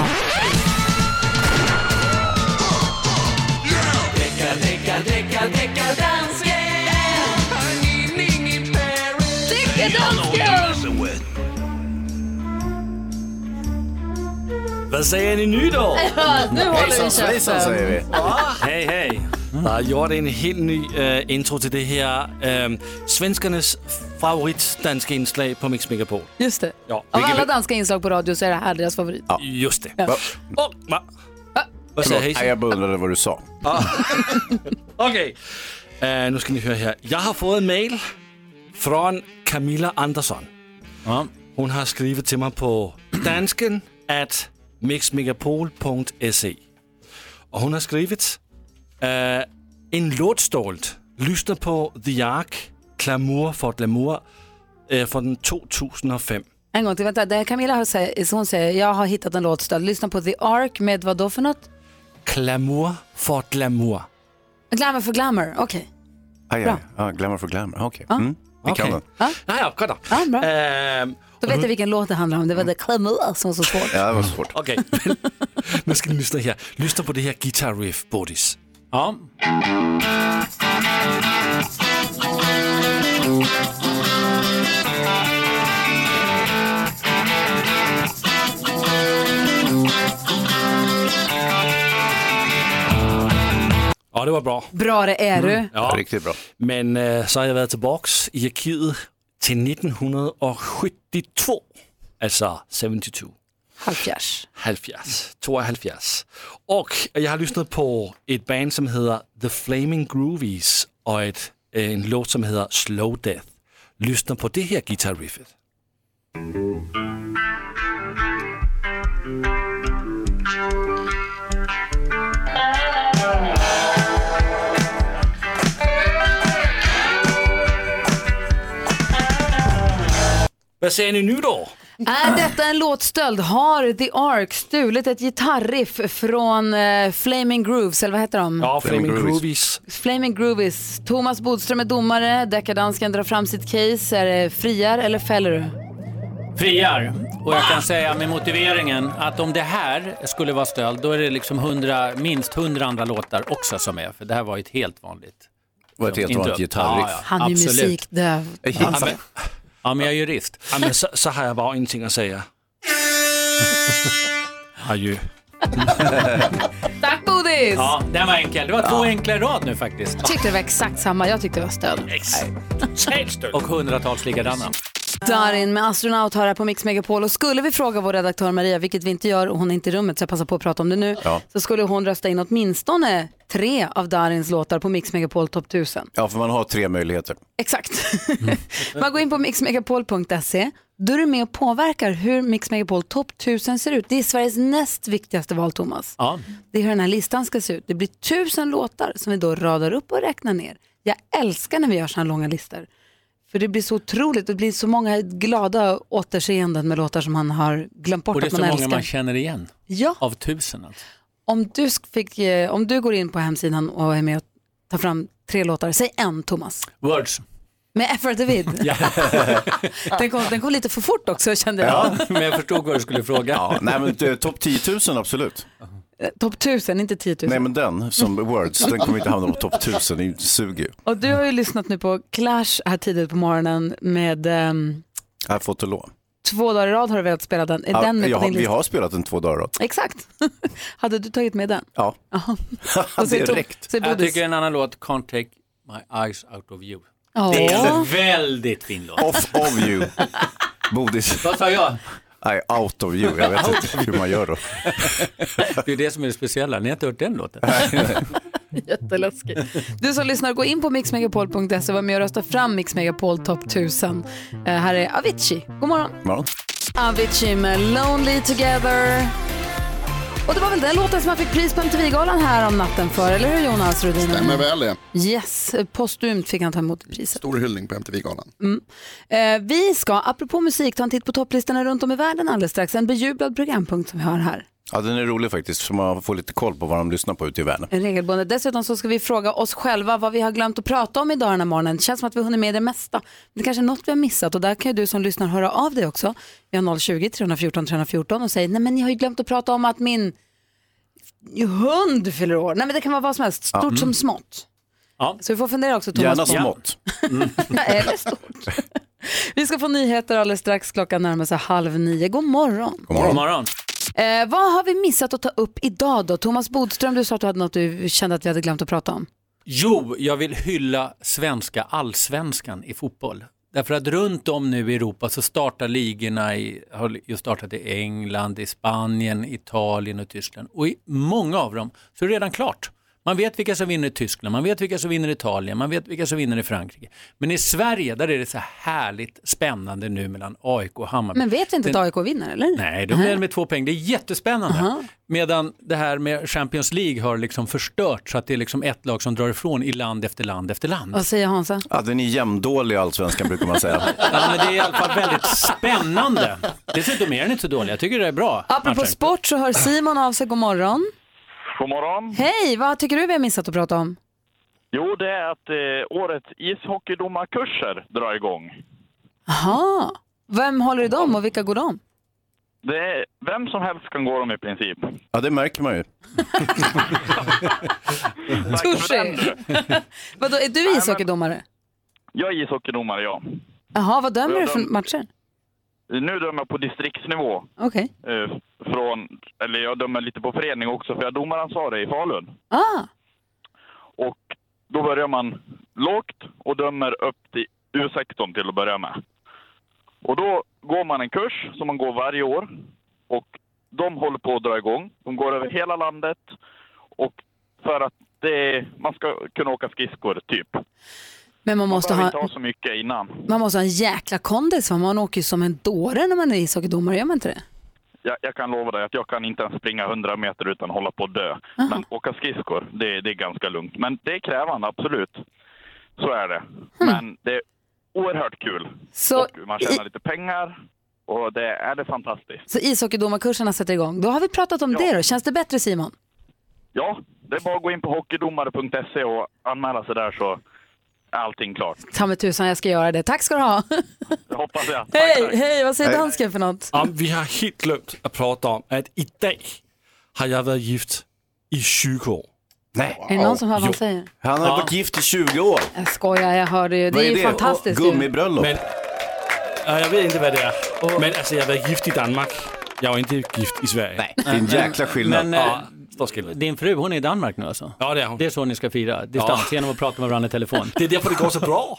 P: Vad säger ni nu då?
A: Ja, nu håller vi
P: Hejsan
A: käften.
P: svejsan, säger vi.
A: Ja.
P: Hej hej. Der er gjort en helt ny øh, intro til det her øh, svenskernes favorit danske indslag på Mix Megapol.
A: Just det.
P: Ja.
A: Av alla danska inslag på radio så är det här deras favorit.
P: Ja. Just det.
A: Ja.
P: Och, va? Vad säger Hazel?
B: Nej, jag bara undrade vad du sa.
P: Okay. Øh, nu skal I høre her. Jeg har fået en mail fra Camilla Andersson. Hun har skrevet til mig på dansken at mixmegapol.se. Og hun har skrevet, øh, en lortstolt lyster på The Ark, Glamour for Glamour, øh, fra den 2005.
A: En gång till, vänta. Det här Camilla har säger, hon säger, jag har hittat en låtstöld. Lyssna på The Ark med vad då för något?
P: Glamour for Glamour.
A: Glamour for glamour, okej.
B: Aj, aj.
A: Bra.
B: Ja, glamour for glamour. Ah, Okej, mm, vi kan den.
P: Nej, ja, godt Uh,
A: Ja, bra.
P: Øhm,
A: Då
B: Mm.
A: vet jag vilken låt det handlar om. Det var The Glamour som var så svårt.
B: Ja, det var svårt.
P: Okay, nu skal I lytte her. Lytter på det her guitar riff, Bodis. Ja. Og det var bra.
A: Bra det är
F: Mm.
A: du.
P: Ja.
B: Riktigt bra.
P: Men øh, så har jeg været tilbage i arkivet til 1972. Altså 72.
A: Halvfjerds.
P: 70, 72. Og jeg har lyttet på et band, som hedder The Flaming Groovies, og et, øh, en låt, som hedder Slow Death. Lytter på det her guitar riffet. Hvad siger ni nu då?
A: Är detta en låtstöld? Har The Ark stulit ett gitarriff från eh, Flaming Grooves, eller vad heter de?
P: Ja, Flaming Groovies.
A: Flaming Groovies. Thomas Bodström är domare, deckardansken drar fram sitt case. Är det friar eller fäller du?
F: Friar. Och jag kan säga med motiveringen att om det här skulle vara stöld, då är det liksom 100, minst 100 andra låtar också som är. För det här var ju ett helt vanligt...
B: var ett helt
F: intro.
B: vanligt gitarriff.
A: Han är
F: absolut.
A: musikdöv.
F: Ja, men, ja, men jag är jurist.
P: Ja, men så, så har jeg bare en ting at sige. Adjø.
A: Tack Bodis!
F: Ja, den var enkel. Det var två enkla i rad nu faktiskt.
A: Tyckte det var exakt samma, jag tyckte det var stöld.
F: Totalt stöld. Och hundratals likadana.
A: Darin med astronaut hör här på Mix Megapol och skulle vi fråga vår redaktör Maria, vilket vi inte gör och hon är inte i rummet så jag passar på att prata om det nu,
B: Ja.
A: så skulle hon rösta in åtminstone tre av Darins låtar på Mix Megapol Top 1000.
B: Ja, för man har tre möjligheter.
A: Exakt. Man går in på mixmegapol.se, då är du med och påverkar hur Mix Megapol Top 1000 ser ut. Det är Sveriges näst viktigaste val, Thomas.
F: Ja.
A: Det är hur den här listan ska se ut. Det blir tusen låtar som vi då radar upp och räknar ner. Jag älskar när vi gör sådana långa listor. För det blir så otroligt, det blir så många glada återseenden med låtar som man har glömt bort
F: Och det är
A: att
F: så
A: man
F: många
A: älskar.
F: man känner igen.
A: Ja.
F: Av tusen alltså.
A: Om, du sk- fick, eh, om du går in på hemsidan och är med och tar fram tre låtar, säg en Thomas.
F: Words.
A: Med Effort David. Den kom, den kom lite för fort också kände jag.
F: men jag förstod vad du skulle fråga.
B: Ja, nej, men eh, topp 10 000 absolut.
A: Eh, Topp 1000, inte 10 000.
B: Nej, men den som Words, den kommer inte hamna på topp 1000, det suger ju.
A: Och du har ju lyssnat nu på Clash här tidigt på morgonen med ehm,
B: Jag har fått och lov.
A: två dagar i rad har du velat spela den. Är
B: Ja,
A: den med
B: jag
A: på
B: har,
A: din
B: vi
A: lista?
B: har spelat den två dagar i rad.
A: Exakt. Hade du tagit med den?
B: Ja.
A: Och så är Tom- så är
F: Jag
A: Bodis.
F: tycker en annan låt, Can't take my eyes out of you.
A: Ja.
F: Det är en väldigt fin låt.
B: Off of you. Bodis.
F: Vad sa jag?
B: Nej, out of you. Jag vet inte hur man gör då.
F: Det är det som är det speciella, ni har inte hört den låten.
A: Jätteläskigt. Du som lyssnar, gå in på mixmegapol.se och var med och rösta fram Mix Megapol Top 1000. Eh, här är Avicii. God morgon.
B: Morgon.
A: Avicii med Lonely Together. Och det var väl den låten som man fick pris på MTV-galan här om natten för, eller hur Jonas Rhodin?
Q: Stämmer väl det.
A: Yes, postumt fick han ta emot priset.
Q: Stor hyllning på MTV-galan.
A: Mm. Eh, vi ska, apropå musik, ta en titt på topplistorna runt om i världen alldeles strax. En bejublad programpunkt som vi har här.
B: Ja, den är rolig faktiskt, så man får lite koll på vad de lyssnar på ute i världen.
A: En regelbundet. Dessutom så ska vi fråga oss själva vad vi har glömt att prata om idag den här morgonen. Det känns som att vi har hunnit med det mesta. Men Det kanske är något vi har missat och där kan ju du som lyssnar höra av dig också. Vi har 020 314 314 och säger nej men ni har ju glömt att prata om att min hund fyller år. Nej men det kan vara vad som helst,
B: Ja.
A: stort
B: Mm.
A: som smått.
F: Ja.
A: Så vi får fundera också Thomas.
B: Gärna
A: på-
B: smått.
A: Eller stort. vi ska få nyheter alldeles strax, klockan närmar sig halv nio. God morgon.
F: God morgon.
A: Eh, vad har vi missat att ta upp idag då? Thomas Bodström, du sa att du hade något du kände att vi hade glömt att prata om.
F: Jo, jag vill hylla svenska allsvenskan i fotboll. Därför att runt om nu i Europa så startar ligorna, i, har ju startat i England, i Spanien, Italien och Tyskland. Och i många av dem så är det redan klart. Man vet vilka som vinner i Tyskland, man vet vilka som vinner i Italien, man vet vilka som vinner i Frankrike. Men i Sverige där är det så härligt spännande nu mellan AIK och Hammarby.
A: Men vet vi inte
F: Den-
A: att AIK vinner eller?
F: Nej, då blir det med två poäng. Det är jättespännande. Medan det här med Champions League har liksom förstört så att det är liksom ett lag som drar ifrån i land efter land efter land.
A: Vad säger Hansa?
B: Ja, den är jämndålig allsvenskan brukar man säga.
F: Ja, men det är i alla fall väldigt spännande. Dessutom är den inte så dålig. Jag tycker det är bra.
A: Apropå
F: matchen.
A: sport så hör Simon av sig, god morgon.
Q: God morgon.
A: Hej, vad tycker du vi har missat att prata om?
Q: Jo, det är att eh, årets ishockeydomarkurser drar igång.
A: Aha. Vem håller i dem och vilka går de?
Q: Det är, vem som helst kan gå dem i princip.
B: Ja, det märker man ju.
A: Touché. Vadå, är du ishockeydomare?
Q: Jag är ishockeydomare, jag.
A: Jaha, vad dömer
Q: Jag
A: du för
Q: döm-
A: matcher?
Q: Nu dömer jag på distriktsnivå.
A: Okej.
Q: Eh, från, eller jag dömer lite på förening också, för jag är domaransvarig i Falun.
A: Ah,
Q: Och då börjar man lågt och dömer upp till U16 till att börja med. Och då går man en kurs som man går varje år och de håller på att dra igång. De går över hela landet och för att det, man ska kunna åka skridskor, typ.
A: men man
Q: Man
A: måste,
Q: behöver inte ha
A: ha,
Q: Alltså, så mycket innan.
A: man måste ha en jäkla kondis, va? man åker ju som en dåre när man är ishockeydomare, gör man inte det?
Q: Jag, jag kan lova dig att jag kan inte ens springa 100 meter utan hålla på att dö. Men åka skridskor, det, det är ganska lugnt. Men det är krävande, absolut. Så är det. Men det är oerhört kul.
A: Så-
Q: och man tjänar lite pengar och det är det är fantastiskt.
A: Så ishockeydomarkurserna sätter igång. Då har vi pratat om det då. Känns det bättre Simon?
Q: Ja, det är bara att gå in på hockeydomare.se E och anmäla sig där så är allting klart.
A: Ta mig tusan, jag ska göra det. Tack ska du ha.
Q: Det hoppas jag.
A: hej, hej, vad säger
P: Hej.
A: dansken för något?
P: Ja, vi har helt glömt att prata om att idag har jag varit gift i 20 år.
B: Nej.
A: Är det någon som hör vad han säger?
B: Han har
P: Ja.
B: varit gift i 20 år.
A: Jag skojar, jag hörde ju. Det är ju fantastiskt. ju.
P: Men, ja, jag vet inte vad det är. Men alltså, jag har varit gift i Danmark. Jag var inte gift i Sverige. Nej,
B: det är en jäkla skillnad.
P: Men, eh,
B: Ja.
P: ja, stor skillnad.
F: øh, Din fru, hon är i Danmark nu alltså?
P: Ja, det är hon.
F: Det är så ni ska fira, distans, genom att prata med varandra i telefon.
P: Det är därför det går så bra.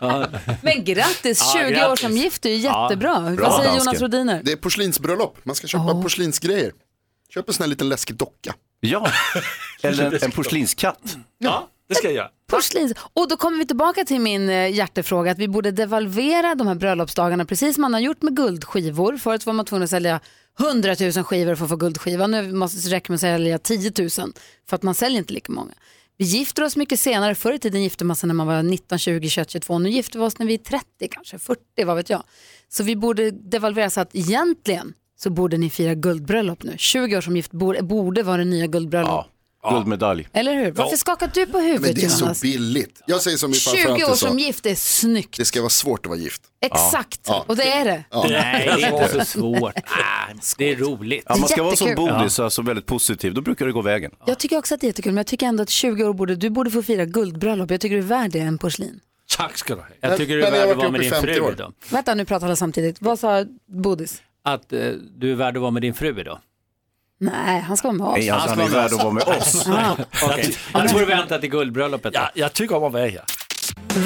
F: ja.
A: Men grattis, 20
F: Ja,
A: år
F: grattis.
A: som gift är ju
F: Ja,
A: jättebra.
F: bra,
A: vad säger
F: dansken.
A: Jonas Rodiner?
B: Det
A: är
B: porslinsbröllop. Man ska köpa porslinsgrejer.
M: Köp en sån här liten läskig docka.
B: Ja, eller en, en porslinskatt.
P: Ja, det ska jag göra.
A: Porslins. Och då kommer vi tillbaka till min eh, hjärtefråga att vi borde devalvera de här bröllopsdagarna precis som man har gjort med guldskivor. Förut var man tvungen att sälja 100 000 skivor för att få guldskiva. Nu måste, räcker man att sälja 10 000 för att man säljer inte lika många. Vi gifter oss mycket senare. Förr i tiden gifte man sig när man var 19, 20, 21, 22. Nu gifter vi oss när vi är 30 kanske, 40, vad vet jag. Så vi borde devalvera så att egentligen så borde ni fira guldbröllop nu. 20 år som gift borde, borde vara det nya guldbröllop.
B: Guldmedalj.
A: Eller hur? Varför skakar du på huvudet
M: Men det är så
A: Jonas?
M: billigt. Jag säger som min
A: 20
M: farfar
A: år
M: alltid sa.
A: som gift är snyggt.
M: Det ska vara svårt att vara gift.
A: Exakt,
M: Ja.
A: och det är det.
M: Ja.
F: Nej, det är inte så svårt. Ah, det är roligt.
B: Ja, man ska vara som
A: Jättekul.
B: Bodis, alltså väldigt positiv. Då brukar det gå vägen.
A: Jag tycker också att det är jättekul, men jag tycker ändå att 20 år borde, du borde få fira guldbröllop. Jag tycker du är värd det, en porslin.
P: Tack ska du ha.
F: Jag tycker du
M: Men-
F: är
M: men jag
F: värd
M: har
F: att vara
M: varit
F: med din
M: ihop i 50
F: fru
M: år.
F: idag.
A: Vänta, nu pratar alla samtidigt. Vad sa Bodis?
F: Att eh, du är värd att vara med din fru idag.
A: Nej, han ska vara med oss.
B: Nej, alltså, han är värd att vara med oss.
F: Okej, jag får vänta till guldbröllopet. Ja,
P: jag tycker om att vara här.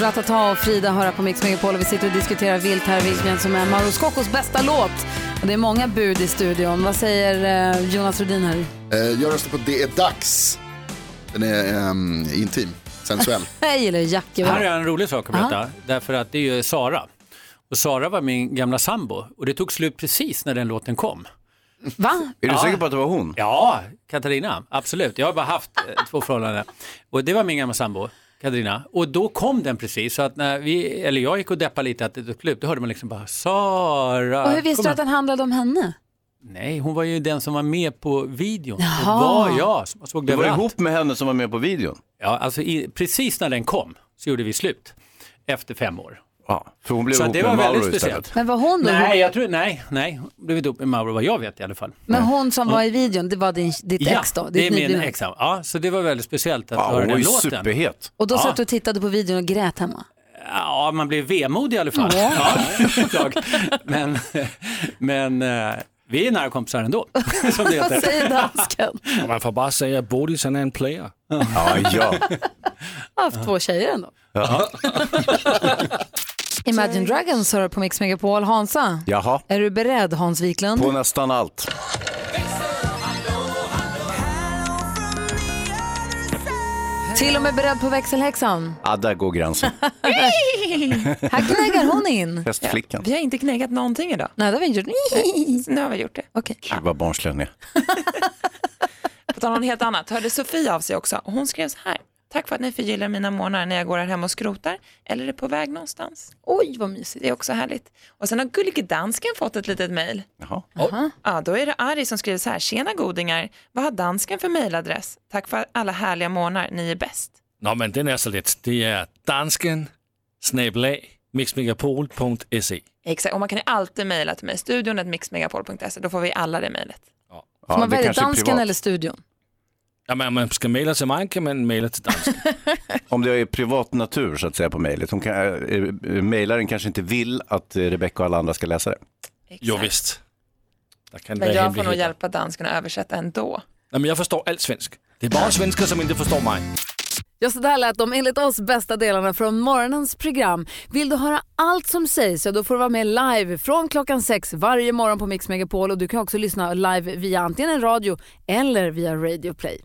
A: Ratata och Frida hör här på Mix Megapol och vi sitter och diskuterar vilt här, vilken som är Mauro Scoccos bästa låt. Och det är många bud i studion. Vad säger eh, Jonas Rhodin här?
E: Eh, Jag röstar på
M: E
E: Det är dags. Den är ehm, intim, sensuell.
A: Jag gillar Jackie.
F: Här är en rolig sak att berätta, därför att det är ju Sara. Och Sara var min gamla sambo och det tog slut precis när den låten kom.
A: Va?
B: Är du
F: Ja.
B: säker på att det var hon?
F: Ja, Katarina, absolut. Jag har bara haft eh, två förhållanden. Och det var min gamla sambo, Katarina. Och då kom den precis, så att när vi, eller jag gick och deppade lite att det tog slut, då hörde man liksom bara Sara.
A: Och hur visste
F: Kom
A: du
F: här.
A: att den handlade om henne?
F: Nej, hon var ju den som var med på videon.
A: Jaha.
F: Det var jag som jag såg det
B: Du var
F: överallt.
B: ihop med henne som var med på videon?
F: Ja, alltså i, precis när den kom så gjorde vi slut. Efter fem år.
B: Ja, för hon blev
F: så
B: ihop
F: det
B: med
F: var väldigt
B: Mauro
F: speciellt.
B: istället.
A: Men var hon då?
F: Nej, jag tror, nej, nej. Hon blev ihop med Mauro vad jag vet i alla fall.
A: Men hon som var i videon, det var din, ditt
F: ja,
A: ex då?
F: det är
A: ditt
F: min
A: nyblivna.
F: ex. Ja, så det var väldigt speciellt att
B: Ja,
F: höra
B: hon
F: den
B: är
F: låten.
B: superhet.
A: Och då
F: ja.
A: satt du och tittade på videon och grät hemma?
F: Ja, man blir vemodig i alla fall. Ja.
A: Ja.
F: ett tag. men men eh,
R: Vi är nära kompisar ändå.
P: som det heter.
A: Vad säger dansken?
P: Och Man får bara säga att Bodis han är en player.
B: Ja, ja.
A: Jag har haft två tjejer ändå. Imagine Dragons hör på Mix Megapol. Hansa,
B: Jaha,
A: är du beredd Hans Wiklund?
B: på nästan allt.
A: Till och med beredd på växelhäxan.
B: Ja, där går gränsen.
A: Här knäggar hon in.
B: Hästflickan.
S: Vi har inte knäckat någonting idag.
A: Nej, det har vi inte gjort.
S: Nu har vi gjort det.
A: Okej.
B: Gud vad barnslig han är.
S: På tal om något helt annat, hörde Sofie av sig också. Och Hon skrev så här. Tack för att ni förgyller mina månader när jag går här hemma och skrotar eller är på väg någonstans.
A: Oj, vad mysigt.
S: Det är också härligt. Och sen har Gullige Dansken fått ett litet mejl.
B: Jaha.
S: Ja, då är det Ari som skriver så här. Tjena godingar, vad har dansken för mejladress? Tack för alla härliga månader, ni är bäst.
P: Nå, men den är så lätt. Det är dansken snabel-a mixmegapol.se.
S: Exakt, och man kan ju alltid mejla till mig, studion mixmegapol.se, då får vi alla det mejlet.
A: Får man välja dansken eller studion?
P: Ja, men om man ska mejla till mig kan man mejla till dansken.
B: Om det är privat natur så att säga på mejlet. Hon kan- eh, eh, Mejlaren kanske inte vill att eh, Rebecca och alla andra ska läsa det.
P: Jo, visst. Där kan det
S: Men
P: vara
S: jag får nog
P: hemligheter.
S: hjälpa dansken att översätta ändå.
P: Nej, men jag förstår allt svensk. Det är bara svenskar som inte förstår mig.
T: Ja, så där lät de enligt oss bästa delarna från morgonens program. Vill du höra allt som sägs så då får du vara med live från klockan sex varje morgon på Mix Megapol och du kan också lyssna live via antingen en radio eller via Radio Play.